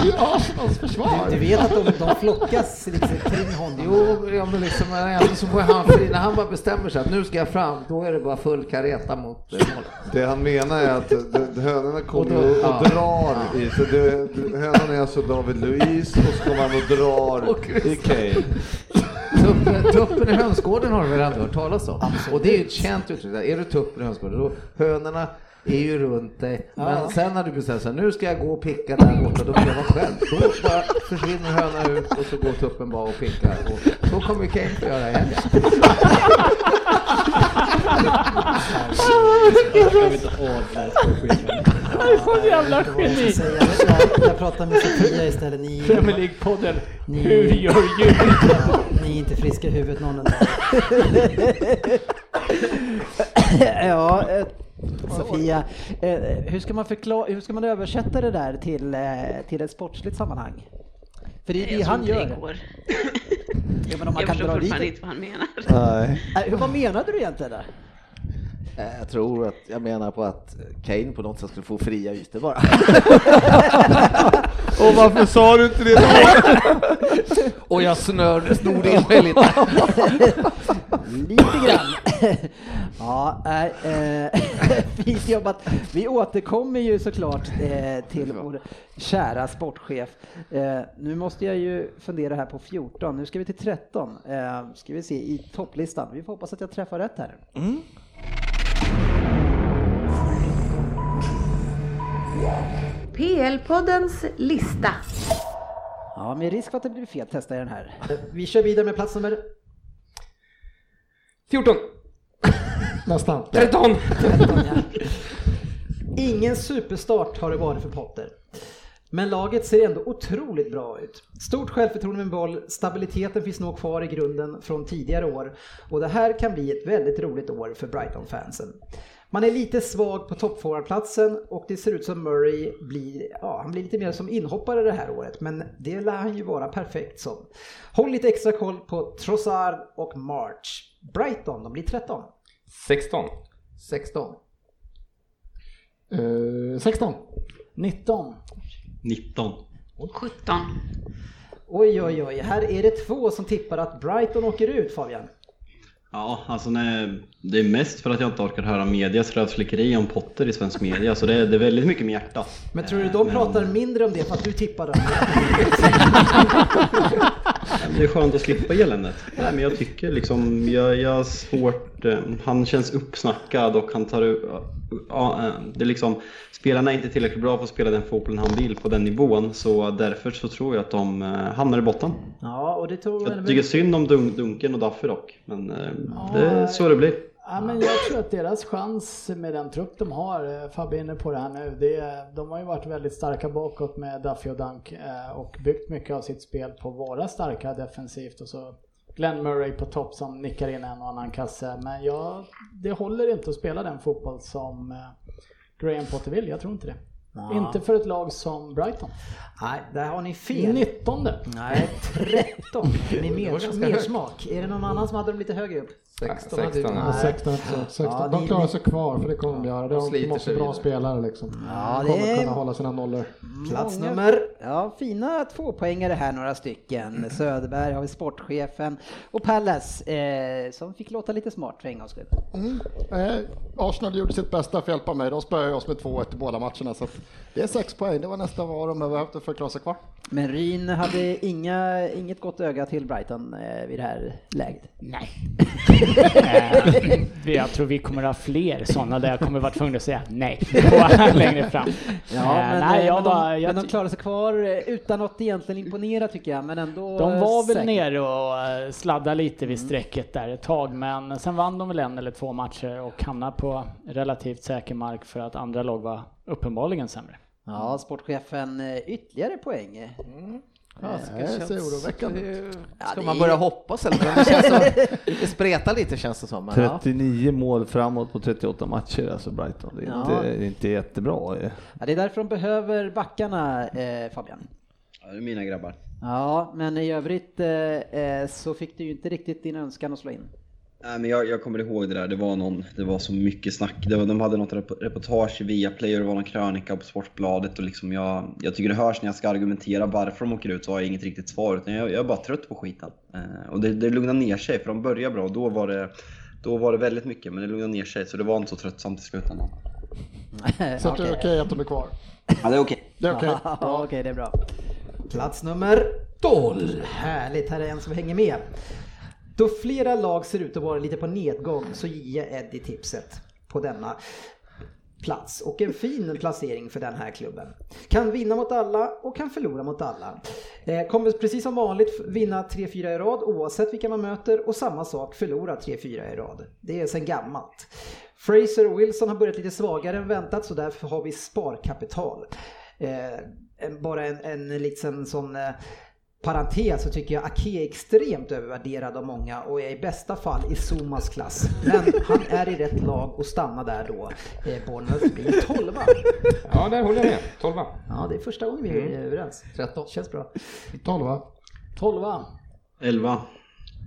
H: i Arsenals försvar.
M: Du vet att de, de flockas liksom kring honom.
G: Jo, ja, men liksom, men ändå så får han fri. När han bara bestämmer sig att nu ska jag fram, då är det bara full kareta mot eh, målet.
A: Det han menar är att d- d- hönorna
G: Och då-
A: kommer och,
G: ja.
A: och drar i. Så det, d- hönan är alltså David Luiz och så kommer han och drar i Kane.
G: Tuppen, tuppen i hönsgården har du väl ändå hört talas om? Och det är ju ett känt uttryck. där. Är du tuppen i hönsgården, då hönorna är ju runt dig. Men sen när du bestämmer sig, nu ska jag gå och picka där borta, då blir jag vara själv. Då bara försvinner hönan ut och så går tuppen bara och pickar. Och så kommer Kane få göra i helgen.
E: Han är så jävla geni.
M: Så jag, jag, jag pratar med Sofia istället. Ni,
E: Premier League-podden. Hur gör djur?
M: ni
B: Ni är inte friska i huvudet någon av ja, eh, Sofia, eh, hur ska, man förklara, hur ska man översätta det där till, eh, till ett sportsligt sammanhang? För det är det
D: Jag tror
B: han
D: inte
B: gör.
D: Alltså, det går.
B: Ja, men om man
D: jag
B: kan
D: förstår
B: dra dit
D: fortfarande
B: det.
D: inte vad han menar.
A: Nej.
B: Eh, hur- Vad menade du egentligen där?
G: Eh, Jag tror att, jag menar på att Kane på något sätt skulle få fria ytor bara.
A: Och varför sa du inte det då?
G: Och jag snör, snor in mig lite.
B: Lite grann. ja, nej, eh, fint jobbat. Vi återkommer ju såklart eh, till vår kära sportchef. Eh, nu måste jag ju fundera här på 14. Nu ska vi till 13. Eh, ska vi se i topplistan. Vi får hoppas att jag träffar rätt här.
I: PL-poddens lista.
B: Ja, med risk för att det blir fel testar jag den här. Eh, Vi kör vidare med plats nummer
N: 14.
H: Nästan.
N: 13.
B: Ingen superstart har det varit för Potter. Men laget ser ändå otroligt bra ut. Stort självförtroende med boll, stabiliteten finns nog kvar i grunden från tidigare år och det här kan bli ett väldigt roligt år för Brighton-fansen. Man är lite svag på toppforwardplatsen och det ser ut som Murray blir, ja, han blir lite mer som inhoppare det här året men det lär han ju vara perfekt som. Håll lite extra koll på Trossard och March. Brighton, de blir 13.
N: 16.
G: 16.
H: Eh, 16.
B: 19.
C: 19.
D: 17.
B: Oj, oj, oj. Här är det två som tippar att Brighton åker ut, Fabian.
C: Ja, alltså nej, det är mest för att jag inte orkar höra medias rövslickeri om Potter i svensk media, så det, det är väldigt mycket med hjärtat.
B: Men tror du
E: Eh,
B: de pratar mindre om det för att du tippar dem?
C: Det är skönt att slippa eländet. Nej, men jag tycker liksom, jag, jag har svårt, eh, han känns uppsnackad och han tar ut, ja, eh, det är liksom, spelarna är inte tillräckligt bra för att spela den fotbollen han vill på den nivån, så därför så tror jag att de eh, hamnar i botten.
B: Ja, och det tror
C: Jag tycker synd om Dun- Dunken och Duffy dock, men eh, det är så det blir.
E: Ja, men jag tror att deras chans med den trupp de har, eh, Fabbe är inne på det här nu, det, är- de har ju varit väldigt starka bakåt med Duffy och Dunk eh, och byggt mycket av sitt spel på att vara starka defensivt och så Glenn Murray på topp som nickar in en och annan kasse. Men jag, det håller inte att spela den fotboll som eh, Graham Potter vill, jag tror inte det.
B: Ja.
E: Inte för ett lag som Brighton.
B: Nej, där har ni fel.
E: 19.
B: Nej, 13. Ni
E: Det var
B: mer,
E: ganska
B: mer
E: högt.
B: smak. Är det någon annan som hade dem lite högre upp?
G: 16 hade ju-
H: Ja, 16, också. 16.
B: Ja,
H: de
B: ni-
H: klarar sig kvar för det kommer de göra.
G: De
H: De
G: sliter
H: måste
G: sig
H: bra
G: vidare.
H: spelare liksom.
B: Ja,
H: de
B: det
H: kommer
B: är-
H: kunna hålla sina nollor.
B: Plats
H: Många.
B: nummer... Ja, fina tvåpoängare här, några
E: Mm.
B: stycken. Söderberg har vi sportchefen och Pallas eh, som fick låta lite smart för en gångs skull.
H: Mm. Eh, Arsenal gjorde sitt bästa för att hjälpa mig. De spöade oss med 2-1 i båda matcherna. Så att det är sex poäng. Det var nästan vad de behövde för att klara sig kvar.
B: Men Ryn hade inga, inget gott öga till Brighton eh, vid det här läget. Nej.
O: Jag tror vi kommer ha fler sådana där jag kommer vara tvungen att säga nej på- längre fram.
B: Ja,
O: Eh,
B: men,
O: nej,
B: eh,
O: jag
B: men,
O: var,
B: de,
O: jag
B: men de
O: ty-
B: klarade sig kvar eh, utan att egentligen imponera tycker jag, men ändå...
O: De var väl
B: säkert. Mm.
O: nere och eh, sladdade lite vid strecket där ett tag, men sen vann de väl en eller två matcher och hamnade på relativt säker mark för att andra lag var uppenbarligen sämre.
B: Ja, sportchefen eh, ytterligare poäng. Mm.
H: det ser oroväckande ut.
G: Ska
B: det
G: man
B: är-
G: börja hoppas eller? Men Det, känns som, det spretar lite känns det som. Men, ja.
A: 39 mål framåt på 38 matcher alltså Brighton. Det är
B: Ja.
A: inte, det är inte jättebra. eh.
B: Ja, det är därför de behöver backarna, eh, Fabian.
C: Ja, det är mina grabbar.
B: Ja, men i övrigt eh, eh, så fick du ju inte riktigt din önskan att slå in.
C: Nej, men jag, jag kommer ihåg det där, det var, någon, det var så mycket snack. Det var, de hade något rep- reportage via Play och det var någon krönika på Sportbladet. Och liksom jag, jag tycker det hörs när jag ska argumentera varför de åker ut så har jag inget riktigt svar. Utan jag, jag är bara trött på skiten. Eh, och det, det lugnar ner sig för de börjar bra och då var det, då var det väldigt mycket. Men det lugnar ner sig så det var inte så tröttsamt i slutändan.
H: Så att det är okej att de är kvar.
C: Ja, det är okej.
H: Det är okej.
B: Ja, okej, det är bra. Plats nummer 12. Härligt, här är en som hänger med. Då flera lag ser ut att vara lite på nedgång så ger jag Eddie tipset på denna plats och en fin placering för den här klubben. Kan vinna mot alla och kan förlora mot alla. Eh, Kommer precis som vanligt vinna 3-4 i rad oavsett vilka man möter och samma sak förlora 3-4 i rad. Det är sedan gammalt. Fraser och Wilson har börjat lite svagare än väntat så därför har vi sparkapital. Eh, en- bara en, en liksom sån eh, parentes så tycker jag Ake är extremt övervärderad av många och är i bästa fall i Sumas klass. Men han är i rätt lag och stannar där då. Eh, Bournemouth blir 12
K: Ja, där håller jag med. Mm. 12
B: Ja, det är första gången vi är överens. 13. Känns bra.
H: 12
B: 12
C: 11.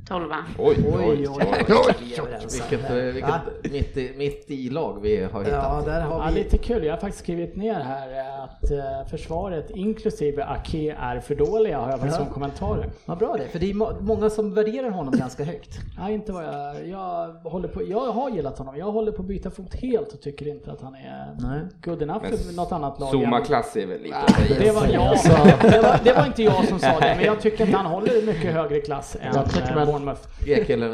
D: 12
B: Oj, oj, oj, oj, oj.
G: Vilket, vilket mitt, i, mitt i lag vi har hittat.
E: Ja, lite kul. Jag har faktiskt skrivit ner här eh, att eh, försvaret inklusive Ake är för dåliga har jag faktiskt
B: Ja.
E: som kommentarer.
B: Vad bra det är, för det är må- många som värderar honom ganska högt.
E: Nej, inte vad jag, jag håller på. Jag har gillat honom. Jag håller på att byta fot helt och tycker inte att han är good enough för något annat lag.
K: Zuma klass är väl lite
E: Nej, det var jag.
H: Alltså.
E: som- Det var, det var inte jag som sa det, men jag tycker att han håller mycket högre klass än
H: Jag tycker
E: eh,
H: man-
E: Bournemouth.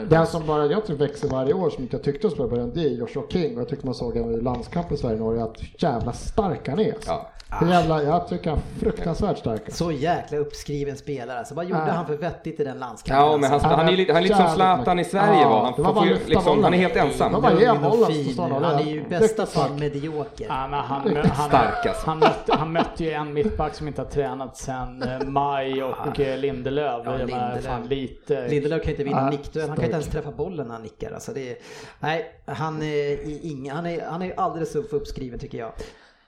H: Den som bara jag tror växer varje år som inte jag tyckte var början, det är Joshua King. Och jag tyckte man såg honom i landskampen Sverige-Norge att hur jävla stark han är. alltså.
K: Ja.
H: Hur jävla, jag tycker han är fruktansvärt stark.
B: Så jäkla uppskriven spelare alltså. Vad gjorde
H: Ja.
B: han för vettigt i den landskampen?
K: Ja, men han,
B: alltså?
K: han, är, ju lite- han är lite som
B: Jävligt
K: Zlatan i
B: mycket.
K: Sverige
B: Ja,
K: var han.
B: det var
K: får
B: bara
K: ju
B: lyfta
K: liksom,
B: bollen.
K: han är helt ensam.
B: Det var bara ge
K: Lugn och
B: bollen
K: fin.
B: så sa han. Han är ju i bästa fall medioker.
E: Ja, men han,
B: Riktigt
E: mö- han,
K: stark, alltså.
E: han, mötte, han mötte ju en mittback som inte har tränat sedan eh, maj och eh, Lindelöf.
B: Ja,
E: Jag menar,
B: Lindelöf.
E: fan, lite...
B: Lindelöf kan ju inte vinna
E: Ja,
B: nickduell. Han kan ju inte ens träffa bollen när han nickar. Alltså det är, nej, han är, i inga, han, är, han är alldeles för uppskriven tycker jag.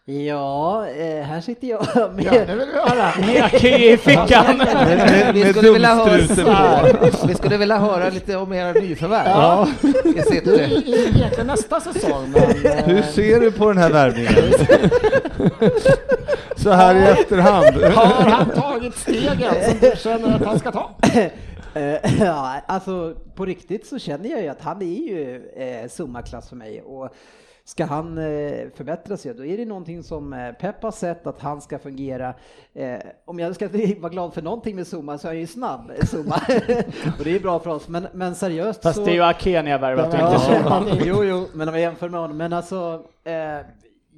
B: Ja, eh, här sitter jag med...
H: Ja, det vill vi höra.
E: Med Aki i fickan.
G: Vi, vi,
H: Med
G: skulle vilja
H: dumstruten
G: höra,
H: på.
G: vi skulle vilja höra lite om era nyförvärv.
H: Ja.
G: Vi
H: Det
G: sitter.
H: är egentligen nästa säsong. Men, eh,
A: Hur ser du på den här värvningen? Så här i efterhand.
H: Har han tagit stegen som du känner att han ska ta?
B: Eh, ja, alltså på riktigt så känner jag ju att han är ju eh, summaklass för mig och ska han eh, förbättra sig då är det någonting som eh, Pep har sett att han ska fungera. Eh, om jag ska vara glad för någonting med Zuma så är jag ju snabb, eh, Zuma. och det är bra för oss, men, men seriöst
E: Fast
B: så...
E: det är ju Ake ni har värvat och inte
B: Ja,
E: Zuma.
B: jo, jo, men om jag jämför med honom. Men alltså, eh,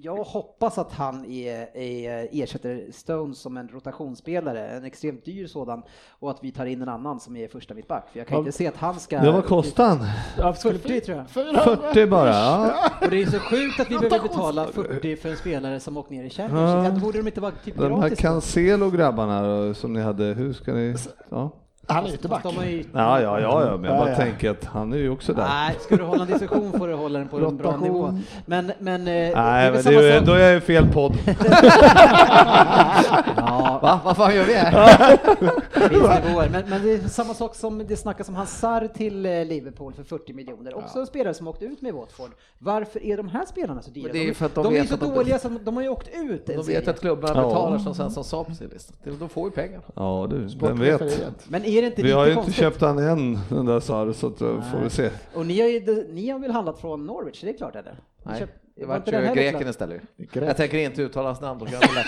B: jag hoppas att han är, är, ersätter Stones som en rotationsspelare, en extremt dyr sådan, och att vi tar in en annan som är första mittback. För jag kan
A: Ja.
B: inte se att han ska...
A: Ja, vad kostar han?
E: Ja,
B: 40 tror jag.
A: 40 bara, ja.
B: Och det är så sjukt att vi behöver betala 40 för en spelare som åkt ner i Champions League.
A: Ja.
B: Borde de inte vara typ
A: De här
B: gratis? då?
A: Cancelo-grabbarna som ni hade, hur ska ni... Ja.
H: Han är ytterback.
B: Fast de har ju-
A: Ja, ja, ja, ja, men jag bara
B: Ja, ja.
A: tänker att han är ju också där.
B: Nej, ska du hålla en diskussion får du hålla den på en bra
H: Rotation.
B: nivå. Men, men... eh,
A: Nej,
B: väl
A: men det är, ju-
B: samma
A: då
B: sak-
A: är jag ju fel podd.
B: Ja.
G: Va? Vad fan gör vi här?
B: Visst nivåer. Men, men det är samma sak som det snackas om Hazard till eh, Liverpool för 40 miljoner. Också en spelare som åkte ut med Watford. Varför är de här spelarna så dyra?
G: Men det är ju för att de
B: är ju
G: vet
B: så
G: att de-
B: dåliga som de har ju åkt ut. en
G: De vet
B: serie.
G: att klubbarna
A: Ja.
G: betalar som sen som sa på sin lista. De får ju pengar.
A: Ja, du, vem
G: Sportchef är
A: vet?
G: rätt.
B: Men är det inte
A: Vi
B: lite
A: har ju inte
B: konstigt?
A: köpt han än, den där Sar, så att, då får vi se.
B: Och ni har, ju, ni har väl handlat från Norwich, det är klart eller? Ni
G: Nej,
B: köpt-
G: det
B: var
G: var
B: inte den
G: ju
B: här
G: greken
B: klart?
G: istället.
H: Grek.
G: Jag tänker inte uttala hans namn. då kan jag väl lära-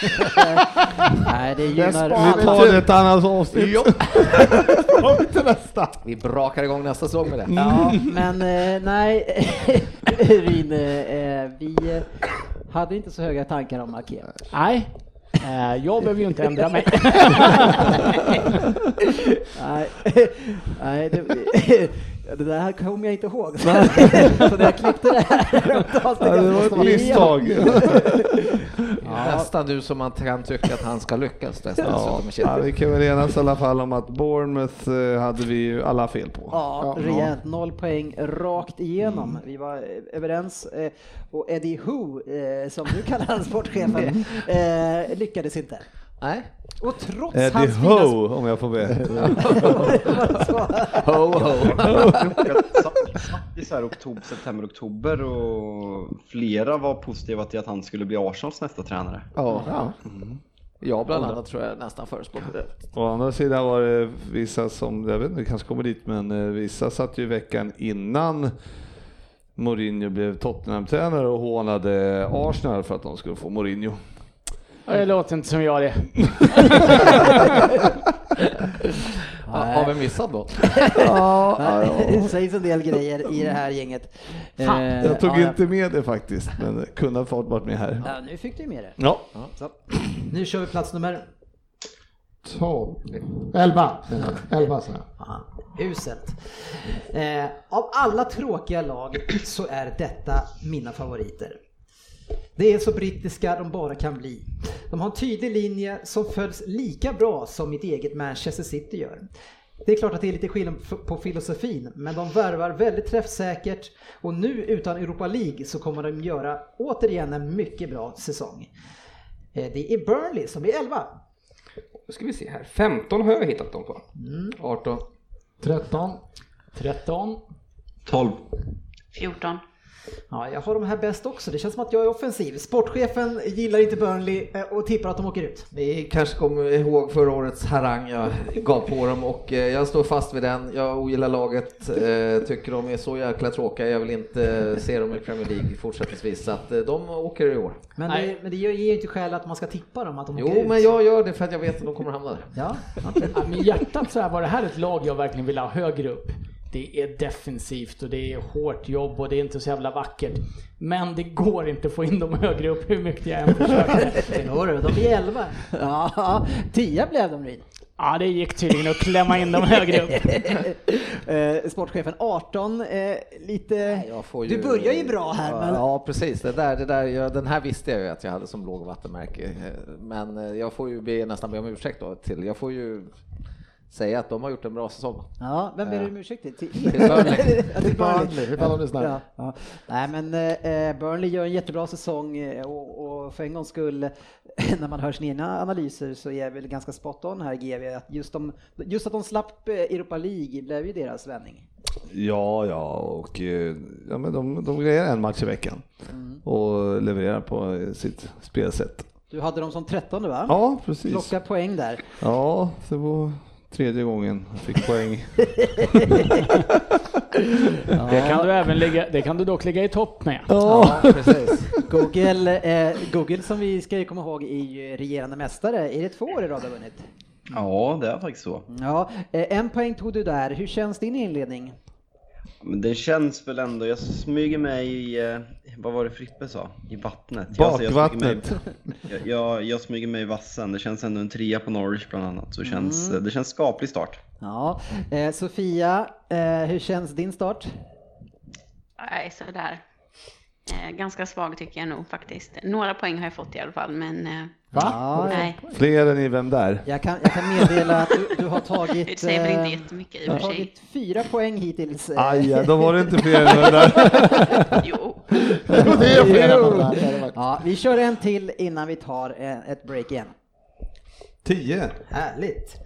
B: Nej, det
H: Det
B: gynnar...
H: sparar
A: Vi tar det ett annat avsnitt.
G: Jo,
H: Kom till nästa.
G: Vi brakar igång nästa säsong med det.
B: Ja, men eh, nej, Ryn, eh, vi eh, hade inte så höga tankar om Aké.
E: Nej, eh, jag behöver ju inte ändra mig.
B: Nej, nej det, det där här kommer jag inte ihåg. Så jag klippte det här.
A: Ja, det var ett misstag.
G: Nästan du som man kan tycka att han ska lyckas. Dessutom
A: Ja,
G: med shit.
A: ja, vi kan väl enas i alla fall om att Bournemouth eh, hade vi ju alla fel på.
B: Ja, rejält. Noll poäng rakt igenom.
G: Mm.
B: Vi var eh, överens. eh, Och Eddie Who, eh, som du kallar han sportchefen, eh, lyckades inte.
G: Mm. Nej.
B: Och trots
A: Eddie
B: hans fina
A: Ho, om jag får be.
G: Ho, ho.
C: I så här oktober, september, oktober och flera var positiva till att han skulle bli Arsenals nästa tränare.
G: Ja. Jag bland annat tror jag nästan förespråkar det.
A: Å andra sidan var det vissa som, jag vet inte, vi kanske kommer dit, men eh, vissa satt ju veckan innan Mourinho blev Tottenham-tränare och hånade Arsenal för att de skulle få Mourinho.
E: Det låter inte som jag det.
G: Ha- Har vi missat något?
B: Det sägs en del grejer i det här gänget.
E: Fan,
B: Eh,
A: Jag tog
B: ja,
A: inte med det faktiskt, men det kunde ha fått varit med här.
B: Ja, nu fick du ju med det.
A: Ja,
B: Så. Nu kör vi plats nummer...
H: 12. 11. 11 så.
B: Fan, uselt. Eh, av alla tråkiga lag så är detta mina favoriter. Det är så brittiska de bara kan bli. De har en tydlig linje som följs lika bra som mitt eget Manchester City gör. Det är klart att det är lite skillnad f- på filosofin, men de värvar väldigt träffsäkert och nu utan Europa League så kommer de göra återigen en mycket bra säsong. Eh, Det är Burnley som blir 11.
P: Då ska vi se här. 15 har jag hittat dem på.
B: Mm.
P: 18.
Q: 13.
E: 13.
C: 12.
D: 14.
B: Ja, jag har de här bäst också. Det känns som att jag är offensiv. Sportchefen gillar inte Burnley eh, och tippar att de åker ut.
G: Ni kanske kommer ihåg förra årets harang jag gav på dem och eh, jag står fast vid den. Jag ogillar laget, eh, tycker de är så jäkla tråkiga. Jag vill inte eh, se dem i Premier League fortsättningsvis så att eh, de åker i år.
B: Men
G: Nej.
B: det, men det ger ju inte skäl att man ska tippa dem att de åker
G: Jo,
B: ut.
G: men jag gör det för att jag vet att de kommer hamna där.
B: Ja.
E: Ja, Med hjärtat så här var det här ett lag jag verkligen ville ha högre upp. Det är defensivt och det är hårt jobb och det är inte så jävla vackert. Men det går inte att få in dem högre upp hur mycket jag än försöker.
B: Jodå, de blir 11.
E: Ja,
B: 10 blev de Ryd.
E: Ja, det gick tydligen att klämma in dem högre upp.
B: Eh, Sportchefen 18, eh, lite...
G: Jag får
B: Du börjar ju bra här
G: Ja,
B: men...
G: Ja precis, det där, det där, jag, den här visste jag ju att jag hade som låg vattenmärke. Eh, Men eh, jag får ju be, nästan be om ursäkt då till, jag får ju säga att de har gjort en bra säsong. Eh.
B: Ja, vem ber du om ursäkt till? Till
G: Burnley.
B: Ja,
G: Till Burnley, ifall de lyssnar.
B: Ja, ja. Nej men eh, Burnley gör en jättebra säsong eh, och, och för en gångs skull när man hör sina egna analyser så är jag väl ganska spot on här GV. Att just, de, just att de slapp eh, Europa League blev ju deras vändning.
A: Ja, ja, och eh, ja, men de, de grejer en match i veckan
B: Mm.
A: och levererar på eh, sitt spelsätt.
B: Du hade dem som trettonde va?
A: Ja, precis.
B: Plocka poäng där.
A: Ja, det var tredje gången jag fick poäng.
R: Det kan du även ligga, det kan du dock ligga i topp med.
B: Google, eh, Google som vi ska ju komma ihåg är ju regerande mästare. Är det två år i rad du har vunnit?
C: Ja, det är faktiskt så.
B: Ja, eh, en poäng tog du där. Hur känns din inledning?
C: Men det känns väl ändå, jag smyger mig i, eh, vad var det Frippe sa? I vattnet?
A: Bakvattnet.
C: Jag, smyger mig- jag, jag smyger mig i vassen, det känns ändå en trea på Norwich bland annat. Så det känns, eh,
B: Mm.
C: det känns skaplig start.
B: Ja, eh, Sofia, eh, hur känns din start?
D: Nej, sådär. Eh, ganska svag tycker jag nog faktiskt. Några poäng har jag fått i alla fall, men... Eh,
A: Va?
D: Nej.
A: Fler än i Vem där?
B: Jag kan, jag kan meddela att du, du har tagit...
D: Det säger väl inte
B: eh,
D: jättemycket i och
B: Du har
D: för sig.
B: tagit fyra poäng hittills. eh.
A: Aj, då var det inte fler än Vem där.
D: Jo.
Q: Jo, det är fler än Vem där. Det är det
B: Jo. Ja, vi kör en till innan vi tar eh, ett break igen.
A: Tio.
B: Härligt.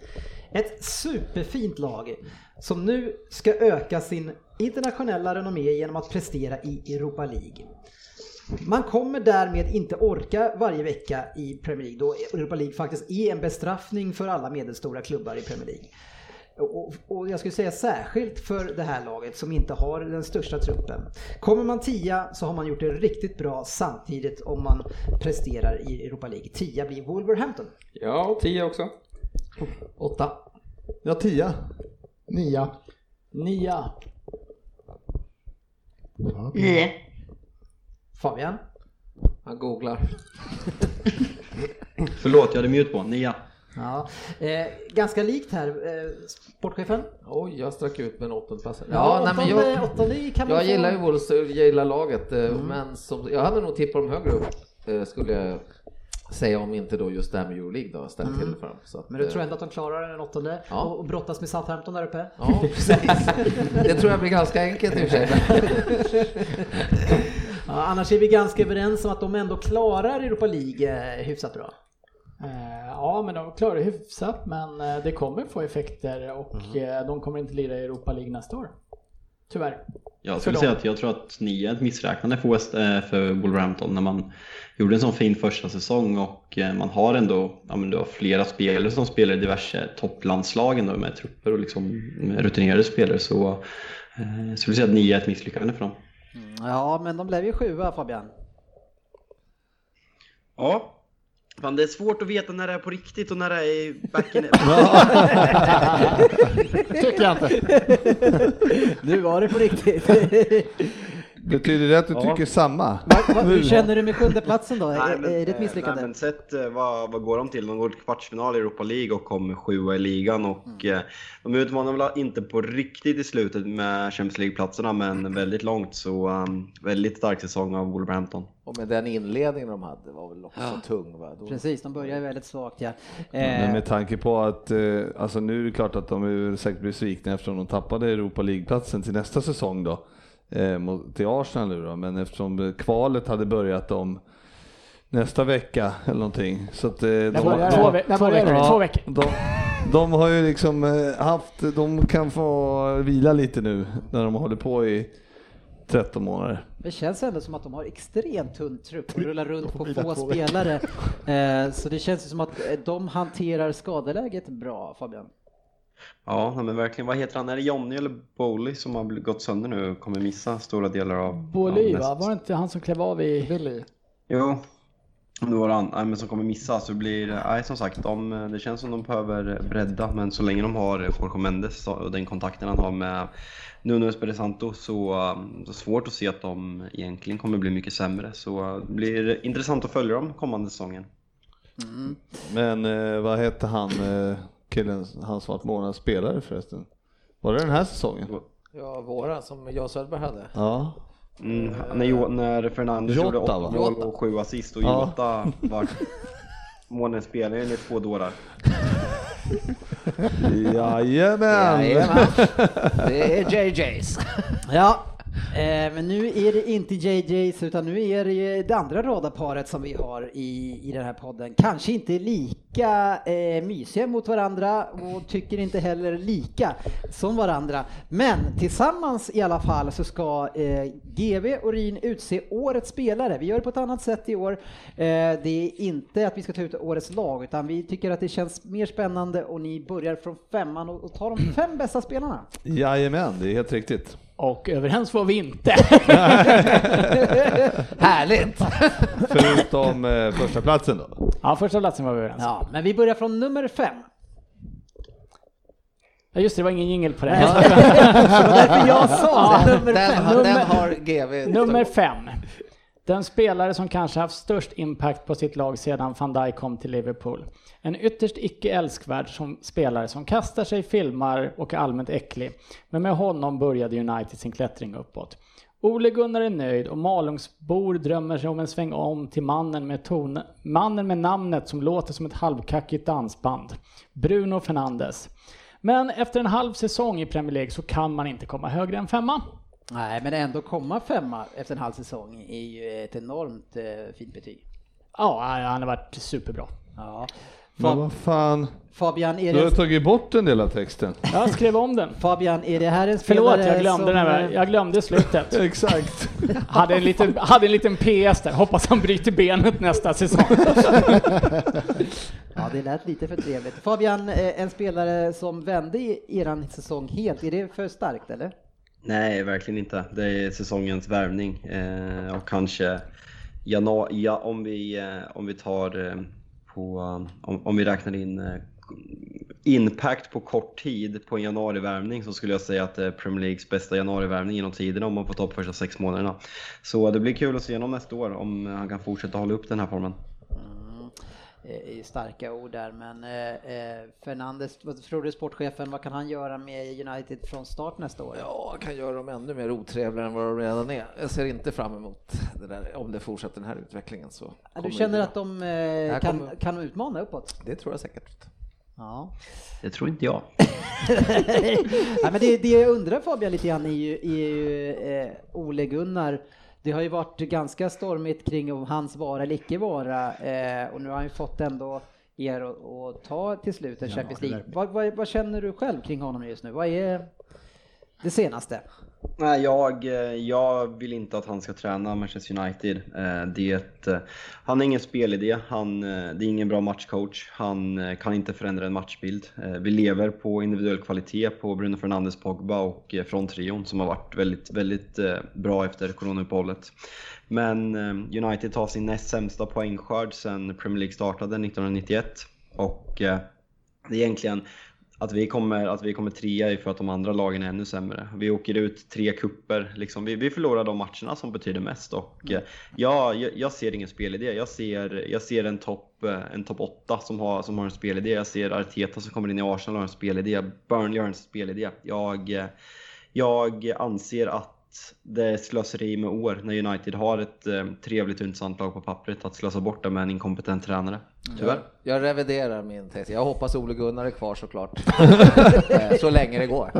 B: Ett superfint lag som nu ska öka sin internationella renommé genom att prestera i Europa League. Man kommer därmed inte orka varje vecka i Premier League då Europa League faktiskt är en bestraffning för alla medelstora klubbar i Premier League. Och, och jag skulle säga särskilt för det här laget som inte har den största truppen. Kommer man tia så har man gjort det riktigt bra samtidigt om man presterar i Europa League. Tia blir Wolverhampton.
P: Ja, 10 också.
B: Åtta.
A: Ja, tia.
Q: Nia.
E: Nia.
D: Nio.
B: Fabian?
G: Han googlar.
C: Förlåt, jag hade mute på. Nia.
B: Ja, eh, ganska likt här, eh, sportchefen.
G: Oj, jag stack ut med en åttondepassare.
B: Ja, åttonde- åttonde kan man få.
G: jag
B: Mm.
G: gillar ju Wolves, jag gillar laget, eh, men som, jag hade nog tippat dem högre upp eh, skulle jag säga om inte då just det här med Euroleague då ställer till det för dem. Så att,
B: Mm. Men du
G: eh,
B: tror ändå att de klarar den åttonde
G: Ja.
B: och, och brottas med Southampton där uppe?
G: Ja, precis. Det tror jag blir ganska enkelt i och för sig.
B: ja, annars är vi ganska överens om att de ändå klarar Europa League eh, hyfsat bra.
E: Eh, Ja, men de klarar det hyfsat, men eh, det kommer få effekter och
B: Mm.
E: eh, de kommer inte lira i Europa League nästa år. Tyvärr.
C: Jag
E: För
C: skulle
E: dem.
C: säga att jag tror att ni är ett missräknande för, West, eh, för Wolverhampton när man gjorde en sån fin första säsong och eh, man har ändå ja, men du har flera spelare som spelar i diverse topplandslag ändå med trupper och liksom med rutinerade spelare så eh, jag skulle säga att ni är ett misslyckande för dem.
B: Mm, Ja, men de blev ju sjua Fabian.
C: Ja. Fan, det är svårt att veta när det är på riktigt och när det är back in
B: nu var det på riktigt.
A: Betyder det att du
C: Ja.
A: tycker samma?
B: Va, hur känner du med sjundeplatsen då? Är- är det ett misslyckande?
C: Nej, men sett eh, vad, vad går de till? De går till kvartsfinal i Europa League och kommer sjua i ligan. Och,
B: Mm.
C: eh, De utmanar väl inte på riktigt i slutet med Champions League-platserna,
B: Mm.
C: men väldigt långt. Så um, väldigt stark säsong av Wolverhampton.
G: Och med den inledningen de hade var väl också
C: Ja.
G: tung va? Då...
B: Precis, de börjar ju väldigt svagt ja.
A: Men
B: Eh,
A: med tanke på att, eh, alltså nu är det klart att de är väl säkert besvikna eftersom de tappade Europa League-platsen till nästa säsong då, eh, mot- till Arsenal nu då, men eftersom kvalet hade börjat om nästa vecka eller någonting. Så att, eh, de,
S: börjar det? Två ve- När två börjar det? veckor, två veckor.
A: De, de har ju liksom eh, haft, de kan få vila lite nu när de håller på i 13 månader.
B: det känns ändå som att de har extremt tunn trupp och rullar runt på
L: blir det
B: få
L: två veckor.
B: spelare. Eh, så det känns ju som att eh, de hanterar skadeläget bra Fabian.
C: Ja, nej, men verkligen. Vad heter han? Är det Jonny eller Bowley som har bl- gått sönder nu och kommer missa stora delar av... av
S: Boly
C: nästa-
S: va? Var det inte han som klev av i...
H: Willy.
C: Jo, nu var det han. Nej, men som kommer missa. Så det blir, nej, som sagt, de, det känns som de behöver bredda. Men så länge de har Jorge Mendes så- och den kontakten han har med Nuno Espirito Santo så um, det är svårt att se att de egentligen kommer bli mycket sämre. Så uh, det blir intressant att följa dem kommande säsongen.
E: Mm.
A: Men eh, vad hette han eh, killen, han som vart månadens spelare förresten? Var det den här säsongen?
G: Ja, våra som jag och Söderberg hade.
A: Ja.
C: Mm, när, Jo- när Fernandes
A: Jota,
C: gjorde
A: va?
C: 8 mål
A: Jota.
C: och 7 assist och
A: Ja.
C: Jota var månadens spelare enligt två dårar.
A: Jajamän!
B: Jajamän.
G: Det är JJ's.
B: Ja, eh, men nu är det inte JJs utan nu är det ju det andra radarparet som vi har i, i den här podden. Kanske inte lika eh, mysiga mot varandra och tycker inte heller lika som varandra. Men tillsammans i alla fall så ska eh, GV och Rin utse årets spelare. Vi gör det på ett annat sätt i år. Eh, det är inte att vi ska ta ut årets lag utan vi tycker att det känns mer spännande och ni börjar från femman och, och tar de fem bästa spelarna.
A: Jajamän, det är helt riktigt.
S: Och överens var vi inte.
B: Härligt!
A: Förutom eh, första platsen då.
S: ja, första platsen var vi överens.
B: Ja, men vi börjar från nummer fem.
S: Ja, just det, det var ingen jingel på det.
B: Nej. Det var därför jag sa det. Nummer
G: Den,
B: fem.
G: har- den
S: Nummer-
G: har GV.
S: Nummer fem. Den spelare som kanske haft störst impact på sitt lag sedan van Dijk kom till Liverpool. En ytterst icke älskvärd som spelare som kastar sig, filmar och är allmänt äcklig. Men med honom började United sin klättring uppåt. Ole Gunnar är nöjd och Malungsbor drömmer sig om en sväng om till mannen med, ton, mannen med namnet som låter som ett halvkackigt dansband. Bruno Fernandes. Men efter en halv säsong i Premier League så kan man inte komma högre än femma.
B: Nej, men ändå komma femma efter en halv säsong är ju ett enormt eh, fint betyg.
S: Ja, han har varit superbra.
B: Ja.
A: Men vad fan,
B: Fabian, är
A: du har
B: det,
A: tagit bort en del av texten.
S: Jag skrev om den.
B: Fabian, är det här en spelare
S: Förlåt, jag glömde,
B: som,
S: den
B: eh,
S: här, jag glömde slutet.
A: Exakt.
S: Hade en, liten, hade en liten PS där. Hoppas han bryter benet nästa säsong.
B: Ja, det lät lite för trevligt. Fabian, eh, en spelare som vände i- eran säsong helt, är det för starkt eller?
C: Nej, verkligen inte. Det är säsongens värvning eh, och kanske januari, ja, om, vi, eh, om vi tar eh, på, eh, om, om vi räknar in eh, impact på kort tid på en januarivärvning så skulle jag säga att det är Premier Leagues bästa januarivärvning genom tiderna om man får ta upp första sex månaderna. Så det blir kul att se honom nästa år om han kan fortsätta hålla upp den här formen.
B: Eh, är ju starka ord där, men eh, eh, Fernandes, vad tror du sportchefen, vad kan han göra med United från start nästa år?
G: Ja, kan göra dem ännu mer otrevliga än vad de redan är. Jag ser inte fram emot det där, om det fortsätter den här utvecklingen så. kommer
B: Du
G: det
B: känner
G: bli-
B: att de eh,
G: Här
B: kan,
G: kommer-
B: kan utmana uppåt?
G: Det tror jag säkert.
B: Ja.
C: Det tror inte jag.
B: Nej, men det, det jag undrar Fabian lite grann är ju, är ju eh, Ole-Gunnar. Det har ju varit ganska stormigt kring om hans vara eller icke vara eh, och nu har han ju fått ändå er att, att ta till slut en Champions League. Vad, vad, vad känner du själv kring honom just nu? Vad är det senaste?
C: Nej, jag, eh, jag vill inte att han ska träna Manchester United. Eh, Det, är ett, eh, han har ingen spelidé, han, eh, det är ingen bra matchcoach, han eh, kan inte förändra en matchbild. Eh, Vi lever på individuell kvalitet på Bruno Fernandes, Pogba och eh, från trion som har varit väldigt, väldigt eh, bra efter coronauppehållet. Men eh, United tar sin näst sämsta poängskörd sedan Premier League startade 1991 och eh, det är egentligen Att vi, kommer, att vi kommer trea är för att de andra lagen är ännu sämre. Vi åker ut tre kupper. Liksom. Vi, vi förlorar de matcherna som betyder mest. Och, eh, ja, jag, jag ser ingen spelidé. Jag ser, jag ser en topp eh, en top 8 som har, som har en spelidé. Jag ser Arteta som kommer in i Arsenal och har en spelidé. Burnley har en spelidé. Jag, eh, jag anser att det är slöseri med år när United har ett eh, trevligt och intressant lag på pappret att slösa bort det med en inkompetent tränare. Tyvärr.
G: Jag reviderar min text. Jag hoppas Ole Gunnar är kvar såklart. Eh, Så länge det går.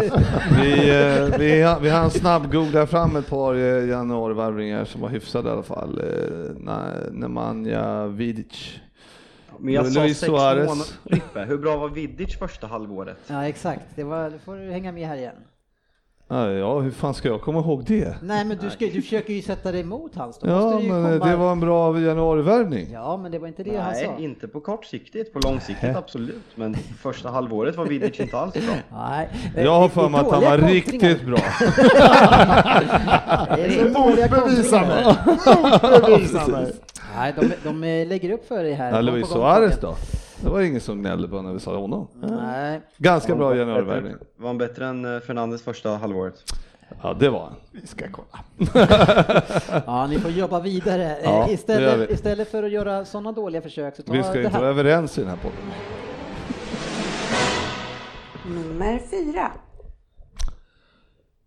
A: Vi, eh, vi, har- vi hann snabbgoogla fram ett par eh, januarivärvningar som var hyfsade i alla fall. Eh, Na- Nemanja Vidic.
C: Men jag sa
A: Luis
C: sex
A: Suarez.
C: månader. Frippe, hur bra var Vidic första halvåret?
B: Ja, exakt. Det var, då får du hänga med här igen.
A: Ja, Ja, hur fan ska jag komma ihåg det?
B: Nej, men du, ska, du försöker ju sätta dig emot hans. Då
A: Ja,
B: måste du ju
A: men eh,
B: komma...
A: det var en bra januarivärvning.
B: Ja, men det var inte det han
C: Nej,
B: sa.
C: inte på kortsiktigt. På långsiktigt
A: Nej.
C: absolut. Men första halvåret var Vidic inte alls bra.
B: Nej.
A: Jag har för mig att han var riktigt bra.
H: Motbevisa mig. Motbevisa mig.
B: Nej, de, de lägger upp för dig här.
A: Ja,
B: Gång på
A: Luis
B: gång.
A: Suarez då? Det var ingen som gnällde på när vi sa honom.
B: Nej.
A: Ganska bra januarivärvning.
C: Var han bättre än eh, Fernandes första halvåret?
A: Ja, det var han.
H: Vi ska kolla.
B: Ja, ni får jobba vidare. Eh,
A: Ja, det gör
B: istället,
A: vi.
B: istället för att göra sådana dåliga försök så ta
A: Vi ska
B: det
A: inte vara
B: här.
A: överens i den här podden.
I: Nummer fyra.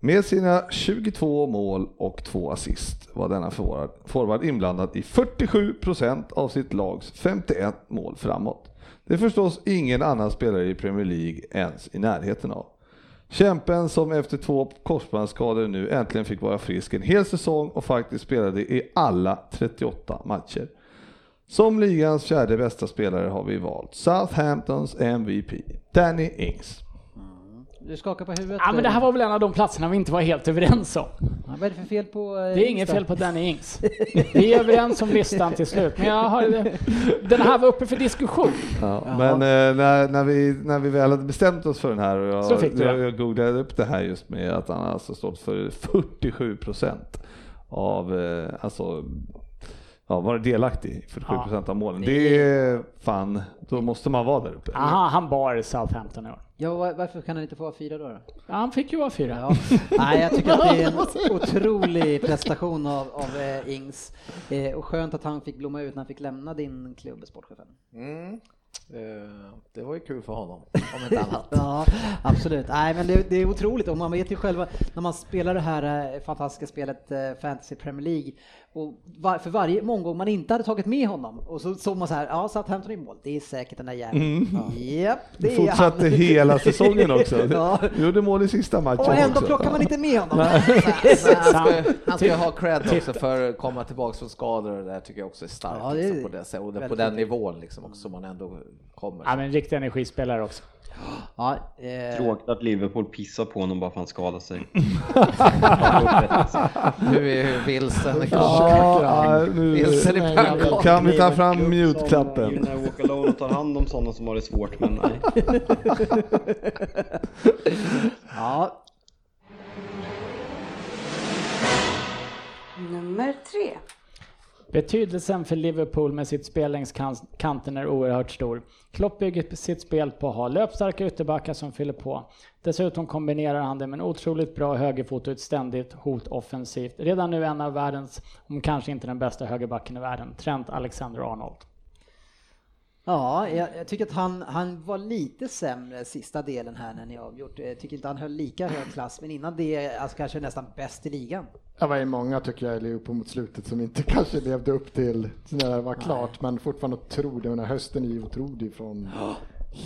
A: Med sina 22 mål och två assist var denna forward, forward inblandad i 47% av sitt lags 51 mål framåt. Det är förstås ingen annan spelare i Premier League ens i närheten av. Kämpen som efter två korsbandsskador nu äntligen fick vara frisk en hel säsong och faktiskt spelade i alla 38 matcher. Som ligans fjärde bästa spelare har vi valt Southamptons MVP, Danny Ings.
B: Du skakar på huvudet.
E: Ja, men det här var väl en av de platserna vi inte var helt överens om.
B: Ja, Vad är det för fel på... eh,
E: Det är inget
B: Insta?
E: fel på Danny Ings. Vi är överens om listan till slut, men jag har, den här var uppe för diskussion.
A: Ja, men eh, när, när, vi, när vi väl hade bestämt oss för den här och jag,
E: Så fick du
A: jag,
E: det.
A: jag googlade upp det här just med att han alltså stått för 47 procent av, eh, alltså, ja, varit delaktig i 47 procent av målen. Det är fan, då måste man vara där uppe.
E: Aha, han bar Southampton i år.
B: Ja, var- varför kan han inte få ha fyra då? då?
E: Ja, han fick ju vara fyra.
B: Nej, jag tycker att det är en otrolig prestation av, av eh, Ings. Eh, och skönt att han fick blomma ut när han fick lämna din klubb, sportchefen.
G: Mm. Eh, Det var ju kul för honom, om inte annat.
B: Ja, absolut. Nej, men det, det är otroligt och man vet ju själva när man spelar det här eh, fantastiska spelet eh, Fantasy Premier League och var, för varje omgång man inte hade tagit med honom och så såg man så här, ja Southampton i mål, det är säkert den där jäveln.
G: Mm.
B: Ja. Japp, det
A: Det
B: är
A: fortsatte
B: han.
A: hela säsongen också.
B: ja.
A: Du Gjorde mål i sista matchen
B: Och ändå
A: också.
B: plockar man
A: Ja.
B: inte med honom.
G: Men Han ska, han ska ju ha cred också för att komma tillbaka från skador och det där tycker jag också är starkt.
B: Ja, det är
G: liksom, på det, sättet. och det, på
B: väldigt
G: den
B: viktigt.
G: nivån liksom också, som man ändå kommer.
E: Ja, men riktig energispelare också.
B: Ja, eh,
C: Tråkigt att Liverpool pissar på honom bara för att han skadar sig.
G: Nu är Wilson
A: Ja, nu
G: Wilson i pannkakan.
A: kan vi ta fram mute-knappen.
C: Gillar Walk Alone och tar hand om sådana som har det svårt, men nej.
B: ja,
I: Nummer tre.
E: Betydelsen för Liverpool med sitt spel längs kan- kanten är oerhört stor. Klopp bygger sitt spel på att ha löpstarka ytterbackar som fyller på. Dessutom kombinerar han det med en otroligt bra högerfot och ett ständigt hot offensivt. Redan nu en av världens, om kanske inte den bästa högerbacken i världen, Trent Alexander-Arnold.
B: ja jag, jag tycker att han, han var lite sämre sista delen här när ni avgjort. Jag tycker inte han höll lika hög klass, men innan det alltså kanske nästan bäst i ligan.
H: Det var ju många tycker jag i Liverpool mot slutet som inte kanske levde upp till när det var klart, men fortfarande otrolig. Den här hösten är ju otrolig från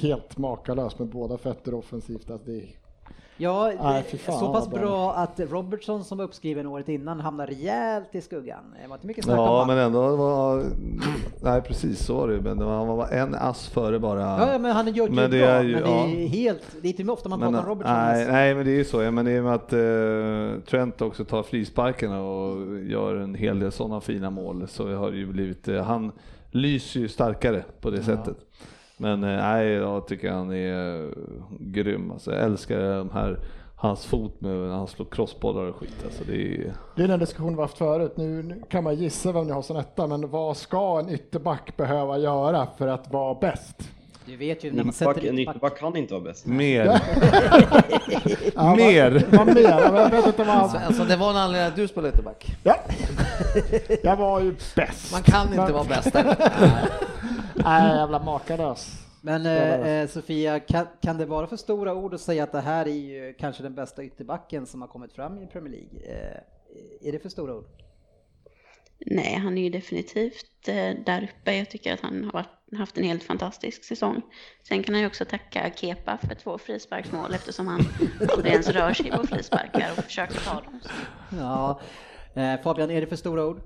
H: helt makalös med båda fötter offensivt. Alltså det är
B: Ja,
H: Nej,
B: det-
H: fy fan,
B: så pass
H: vad bra.
B: bra att Robertson som var uppskriven året innan hamnar rejält i skuggan. Det var inte mycket snack
A: Ja,
B: om
A: men
B: han.
A: ändå var... Nej, precis så var det ju, men det var- han var en ass före bara.
B: Ja, ja, men han gör det
A: Men
B: ju
A: det
B: bra,
A: är ju-
B: men
A: ja.
B: det är helt, det är inte ofta man pratar om Robertson.
A: eh, nej,
B: mest.
A: nej, men det är ju så. Jag menar, I och med att eh, Trent också tar frisparkarna och gör en hel del sådana fina mål så har det ju blivit... Eh, han lyser ju starkare på det sättet. Men eh, nej, jag tycker han är eh, grym. Alltså, jag älskar de här, hans fot med när han slår crossbollar och skit. Alltså, det är,
H: Det är den diskussion vi haft förut. Nu nu kan man gissa vem ni har som etta, men vad ska en ytterback behöva göra för att vara bäst?
B: Du vet ju när man
C: Ytterback,
B: sätter
C: en
B: in
C: ytterback kan inte vara bäst.
A: Mer.
H: Ja,
A: Mer.
H: Vad, vad mer? Jag vet inte vad...
G: Svensson, Alltså, det var en anledning att du spelade ytterback.
H: Ja. Jag var ju bäst.
G: Man kan inte vara bäst där.
T: Nej, jävla makalös.
B: Men eh, eh, Sofia, kan, kan det vara för stora ord att säga att det här är ju kanske den bästa ytterbacken som har kommit fram i Premier League? Eh, är det för stora ord?
D: Nej, han är ju definitivt eh, där uppe. Jag tycker att han har varit, haft en helt fantastisk säsong. Sen kan han ju också tacka Kepa för två frisparksmål eftersom han aldrig ens rör sig på frisparkar och försöker ta dem.
B: Ja. Eh, Fabian, är det för stora ord?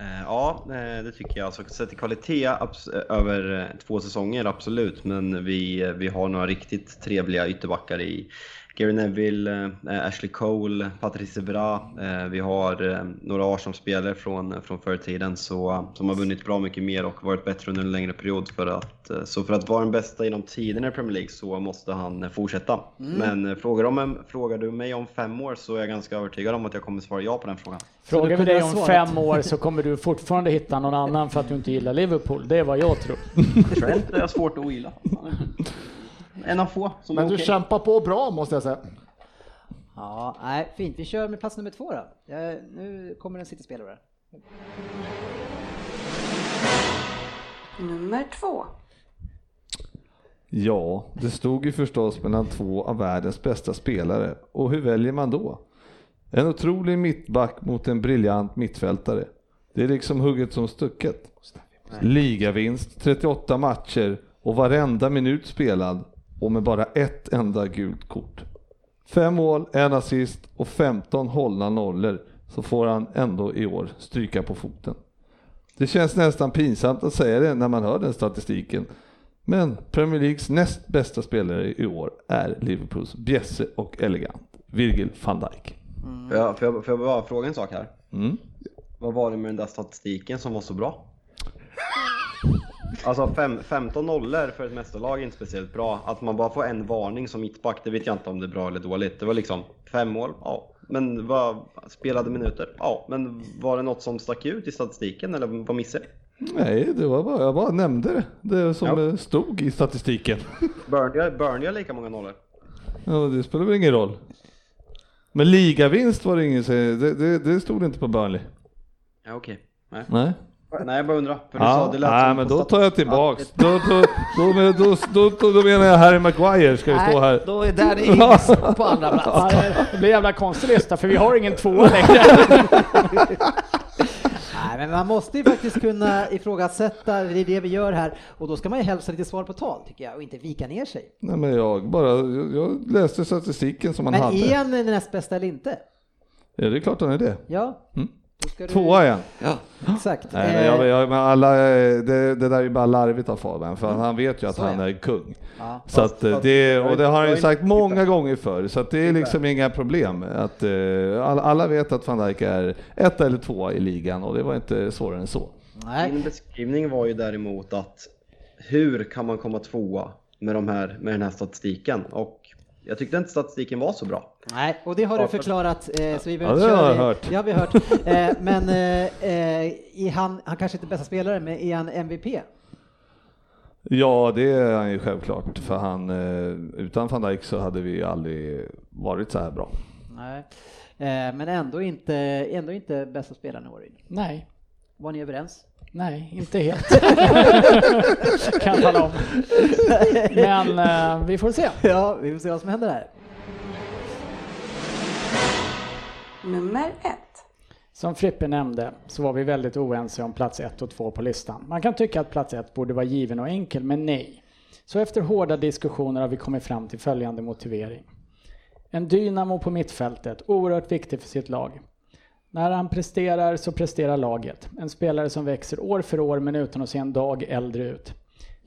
C: Eh, Ja, eh, det tycker jag. Alltså, sett till kvalitet abs- eh, över eh, två säsonger, absolut. Men vi, eh, vi har några riktigt trevliga ytterbackar i Gary Neville, eh, Ashley Cole, Patrice Evra. Eh, Vi har eh, några Arsenal-spelare från, eh, från förr i tiden så, eh, som har vunnit bra mycket mer och varit bättre under en längre period. För att, eh, så för att vara den bästa genom tiderna i Premier League så måste han eh, fortsätta.
B: Mm.
C: Men eh, frågar, om en, frågar du mig om fem år så är jag ganska övertygad om att jag kommer svara ja på den frågan.
E: Frågar vi
C: kunde
E: dig
C: ha
E: om
C: svarat.
E: fem år så kommer du fortfarande hitta någon annan för att du inte gillar Liverpool. Det är vad jag tror.
C: Trent är svårt att ogilla. En av få som
H: Men
C: är
H: du
C: okej.
H: kämpar på bra måste jag säga.
B: Ja, nej, fint. Vi kör med pass nummer två då. Eh, nu kommer en cityspelare här.
I: Nummer två.
A: Ja, det stod ju förstås mellan två av världens bästa spelare. Och hur väljer man då? En otrolig mittback mot en briljant mittfältare. Det är liksom hugget som stucket. Ligavinst, 38 matcher och varenda minut spelad och med bara ett enda gult kort. Fem mål, en assist och 15 hållna nollor så får han ändå i år stryka på foten. Det känns nästan pinsamt att säga det när man hör den statistiken. Men Premier Leagues näst bästa spelare i år är Liverpools bjässe och elegant Virgil van Dijk.
C: Får jag, Mm. får, jag, får jag bara fråga en sak här?
A: Mm.
C: Vad var det med den där statistiken som var så bra? Alltså fem, 15 nollor för ett mästerlag är inte speciellt bra. Att man bara får en varning som mittback, det vet jag inte om det är bra eller dåligt. Det var liksom fem mål, ja. Men vad, spelade minuter, ja. Men var det något som stack ut i statistiken eller vad missade jag?
A: Nej, det var bara, jag bara nämnde det, det som eh, stod i statistiken.
C: Burnley- Burnley har lika många nollor.
A: Ja, det spelar väl ingen roll. Men ligavinst var det ingen som- det, det, det stod inte på Burnley.
C: Ja, okej. Nej.
A: Nej.
C: Nej, jag bara undrar. För du
A: Ja,
C: sa, det lät
A: nej,
C: som
A: men
C: på
A: då
C: stat-
A: tar jag tillbaks. Då, då, då, men- då, då, då, då menar jag Harry Maguire ska ju stå här.
G: Då är Danny Ings på andra plats.
E: Det blir en jävla konstig lista för vi har ingen tvåa längre.
B: Nej, men man måste ju faktiskt kunna ifrågasätta, det är det vi gör här, och då ska man ju hälsa lite svar på tal tycker jag och inte vika ner sig.
A: Nej, men jag bara, jag, jag läste statistiken som man
B: men
A: hade.
B: är han den näst bästa eller inte?
A: Ja, det är klart han är det.
B: Ja.
A: Mm.
B: Då ska du-
A: Tvåa igen.
B: Exakt.
A: Nej, men jag, jag, men alla, eh, det, det där är ju bara larvigt av Fabian, för han vet ju att han är kung.
B: Mm. Ja.
A: Så att eh, det, och det har han ju
C: jag är
A: sagt många gånger förr, så att det är liksom inga problem. Att, eh, alla, alla vet att van Dijk är ett eller två i ligan och det var inte svårare än så.
C: Min beskrivning var ju däremot att hur kan man komma tvåa med, de här, med den här statistiken? Och jag tyckte inte statistiken var så bra.
B: Nej, och det har du förklarat eh, så vi
C: Ja,
B: behöver
C: det
B: inte
C: har
B: köra
C: jag
B: det.
C: hört.
B: Det har vi hört. Eh, men eh, eh, är han, han kanske inte är bästa spelare, men är han MVP?
A: Ja, det är han ju självklart, för han, eh, utan van Dijk så hade vi ju aldrig varit så här bra.
B: Nej. Eh, men ändå inte, ändå inte bästa spelaren i år.
E: Nej.
B: Var ni överens?
E: Nej, inte helt. kan jag tala om. Men eh, vi får se.
B: Ja, vi får se vad som händer här.
I: Nummer ett.
E: Som Frippe nämnde så var vi väldigt oense om plats 1 och 2 på listan. Man kan tycka att plats 1 borde vara given och enkel, men nej. Så efter hårda diskussioner har vi kommit fram till följande motivering. En dynamo på mittfältet, oerhört viktig för sitt lag. När han presterar så presterar laget. En spelare som växer år för år men utan att se en dag äldre ut.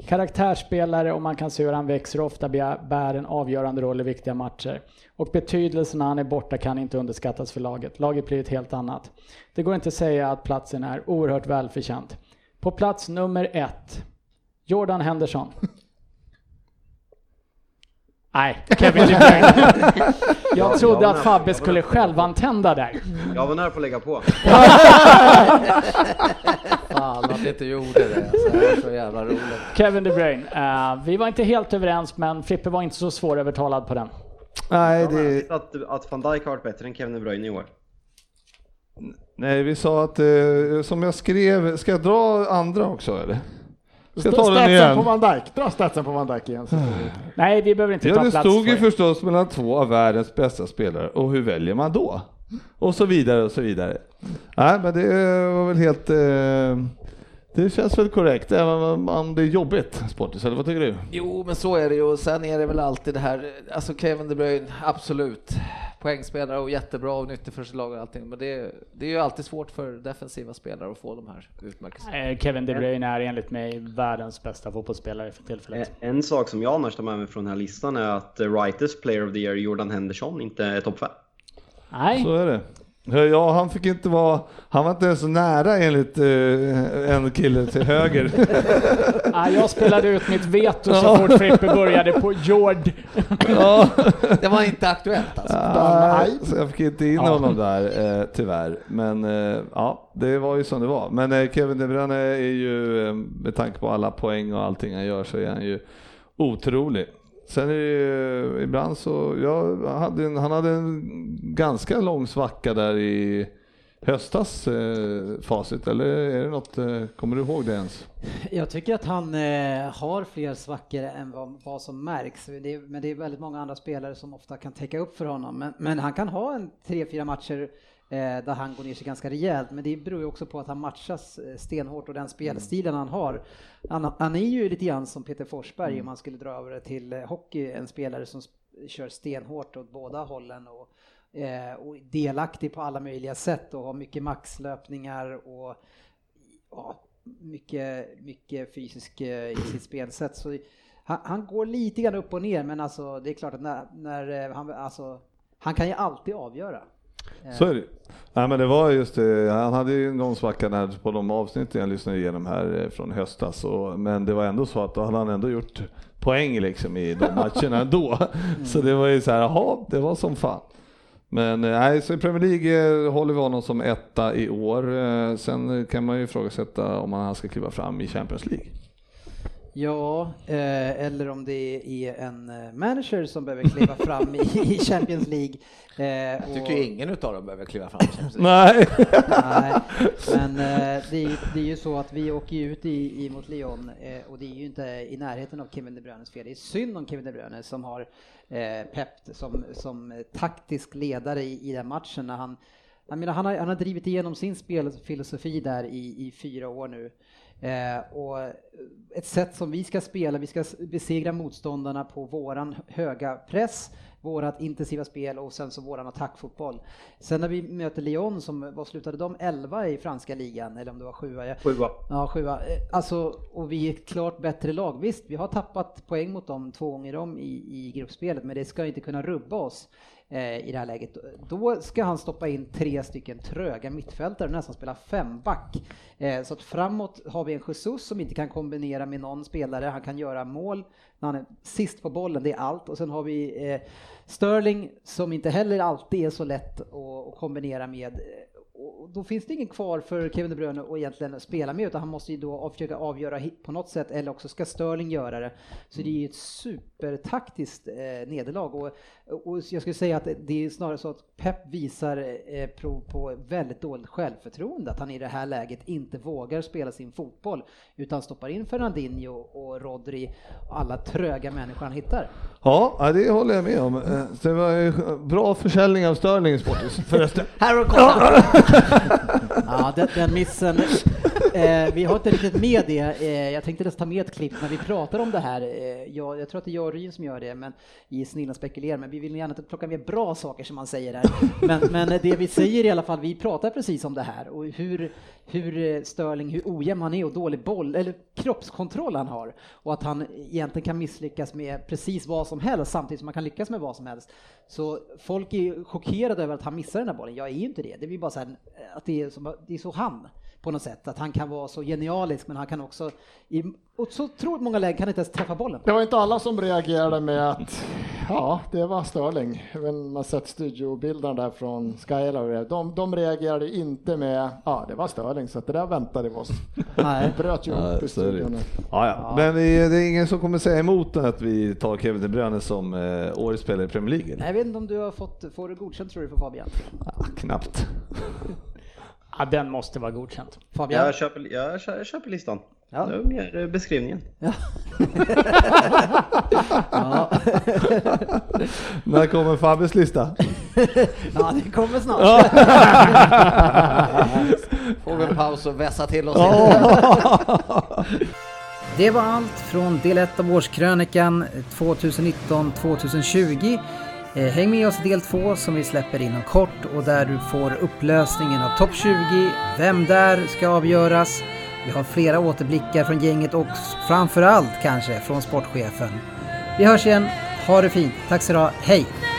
E: Karaktärsspelare och man kan se hur han växer och ofta bär bär en avgörande roll i viktiga matcher. Och betydelsen när han är borta kan inte underskattas för laget. Laget blir ett helt annat. Det går inte att säga att platsen är oerhört välförtjänt. På plats nummer ett, Jordan Henderson. Nej, Kevin De Bruyne. Jag trodde att Fabbe skulle självantända där.
C: Jag var nära på att lägga på.
G: Fan att det inte gjorde det. Alltså, det var så jävla roligt.
E: Kevin De Bruyne. Eh, vi var inte helt överens, men Frippe var inte så svårövertalad på den.
A: Nej,
C: det är... att, att Van Dijk har varit bättre än Kevin De Bruyne i år.
A: Nej, vi sa att, eh, som jag skrev, ska jag dra andra också eller? Ska jag ta den
H: Statsen
A: igen?
H: på Van Dijk. Dra statsen på Van Dijk igen. så står det.
E: Mm. Nej, vi behöver inte
A: Ja,
E: ta
A: det
E: plats
A: stod ju
E: för det.
A: förstås mellan två av världens bästa spelare och hur väljer man då? Och så vidare och så vidare. Nej, men det var väl helt... Eh, det känns väl korrekt, även om det är jobbigt, Sportis, eller vad tycker du?
G: Jo, men så är det ju. Och sen är det väl alltid det här, alltså Kevin De Bruyne, absolut. Poängspelare och jättebra och nyttig för sitt lag och allting. Men det, det är ju alltid svårt för defensiva spelare att få de här utmärkelserna.
E: Eh, Kevin De Bruyne är enligt mig världens bästa fotbollsspelare för tillfället.
C: Eh, En sak som jag annars tar med mig från den här listan är att eh, Writers Player of the Year, Jordan Henderson, inte är topp 5.
E: Nej.
A: Så är det. Eh, Ja, han fick inte vara, han var inte ens nära enligt eh, en kille till höger.
E: Ah, jag spelade ut mitt veto så fort Frippe började på Jord.
A: Ja.
G: Det var inte aktuellt alltså.
A: Nej, så jag fick inte in honom där eh, tyvärr. Men eh, ja, det var ju som det var. Men eh, Kevin De Bruyne är ju, eh, med tanke på alla poäng och allting han gör så är han ju otrolig. Sen är det ju, eh, ibland så, jag hade en, han hade en ganska lång svacka där i höstas eh, facit, eller är det något, eh, kommer du ihåg det ens?
B: Jag tycker att han eh, har fler svackor än vad, vad som märks. Det är, men det är väldigt många andra spelare som ofta kan täcka upp för honom. Men, men han kan ha en tre, fyra matcher eh, där han går ner sig ganska rejält. Men det beror ju också på att han matchas eh, stenhårt och den spelstilen han har. Han, han är ju lite grann som Peter Forsberg om man skulle dra över det till eh, hockey. En spelare som sp- kör stenhårt åt båda hållen. Och, eh, och är delaktig på alla möjliga sätt och har mycket maxlöpningar och ja, mycket, mycket fysisk eh, i sitt spelsätt. Så han, han går lite grann upp och ner, men alltså, det är klart att när, när eh, han, alltså, han kan ju alltid avgöra. Eh,
A: Så är det Nej men det var just det, han hade ju någon svacka där på de avsnitt jag lyssnade igenom här eh, från höstas. Och, men det var ändå så att då hade han ändå gjort poäng liksom i de matcherna ändå. Så det var ju så här, jaha, det var som fan. Men eh, nej, så i Premier League eh, håller vi honom som etta i år. Eh, Sen kan man ju ifrågasätta om han ska kliva fram i Champions League.
B: Ja, eh, eller om det är en eh, manager som behöver kliva fram i i Champions League. Eh,
G: Jag tycker ju ingen utav dem behöver kliva fram. känns det.
A: Nej.
B: Nej, men eh, det, är, det är ju så att vi åker ju ut i, i mot Lyon eh, och det är ju inte i närheten av Kevin De Bruynes fel. Det är synd om Kevin De Bruyne som har eh, Pep som, som eh, taktisk ledare i, i den matchen när han jag menar, han, har, han har drivit igenom sin spelfilosofi där i, i fyra år nu. Eh, och ett sätt som vi ska spela, vi ska s- besegra motståndarna på våran höga press, vårat intensiva spel och sen så våran attackfotboll. Sen när vi möter Lyon, som vad slutade de 11 i franska ligan, eller om det var 7?
C: Sjua.
B: Ja, sjua. Eh, Alltså, och vi är ett klart bättre lag. Visst, vi har tappat poäng mot dem två gånger om i, i gruppspelet, men det ska inte kunna rubba oss eh, i det här läget. Då ska han stoppa in tre stycken tröga mittfältare och nästan spela femback. Eh, så att framåt har vi en Jesus som inte kan kombinera med någon spelare. Han kan göra mål när han är sist på bollen, det är allt. Och sen har vi eh, Sterling som inte heller alltid är så lätt att, att kombinera med. eh, Och då finns det ingen kvar för Kevin De Bruyne att egentligen spela med utan han måste ju då försöka avgöra hit på något sätt eller också ska Sterling göra det. Så det är ju ett supertaktiskt eh, nederlag och, och jag skulle säga att det är snarare så att Pep visar eh, prov på väldigt dåligt självförtroende att han i det här läget inte vågar spela sin fotboll utan stoppar in Fernandinho och Rodri och alla tröga människor han hittar.
A: Ja, ja, det håller jag med om. Eh, så Det var ju bra försäljning av Sterling Sportis förresten.
B: Här har kommit. Ja, den, den missen. Eh, vi har inte riktigt med det. Eh, jag tänkte nästan ta med ett klipp när vi pratar om det här. Eh, jag, jag tror att det är jag och Ryn som gör det men i Snillen spekulerar, men vi vill gärna plocka med bra saker som man säger här. Men, men det vi säger i alla fall, vi pratar precis om det här och hur, hur eh, Sterling, hur ojämn han är och dålig boll, eller kroppskontroll han har och att han egentligen kan misslyckas med precis vad som helst samtidigt som man kan lyckas med vad som helst. Så folk är chockerade över att han missar den där bollen. Jag är ju inte det. Det är ju bara så här, eh, att det är, som, det är så han på något sätt, att han kan kan vara så genialisk, men han kan också i och så otroligt många lägen kan inte ens träffa bollen.
H: Det var inte alla som reagerade med att ja, det var Störling. Man har sett studiobilderna där från Skylar. De, de reagerade inte med ja, det var Störling så att det där väntade vi oss.
B: Nej.
H: Bröt ju
A: Nej,
H: upp i
A: så är det ju.
H: studion.
A: Ja, ja. Men vi, det är ingen som kommer säga emot att vi tar Kevin De Bruyne som eh, årets spelare i Premier League? eller?
B: Jag vet inte om du har fått, får du godkänt tror du för Fabian?
A: Knappt.
E: Ja, den måste vara godkänt.
B: Fabian?
C: Jag köper, jag kö- jag köper listan.
B: Ja.
C: Det var mer eh, beskrivningen.
A: När kommer Fabbes lista?
B: ja, det kommer snart.
A: Ja.
G: Får vi en paus och vässa till oss
B: Det var allt från del 1 av årskrönikan 2019-2020. Eh, Häng med oss i del 2 som vi släpper inom kort och där du får upplösningen av topp 20, vem där ska avgöras. Vi har flera återblickar från gänget och framförallt kanske från sportchefen. Vi hörs igen, ha det fint, tack så du ha. hej!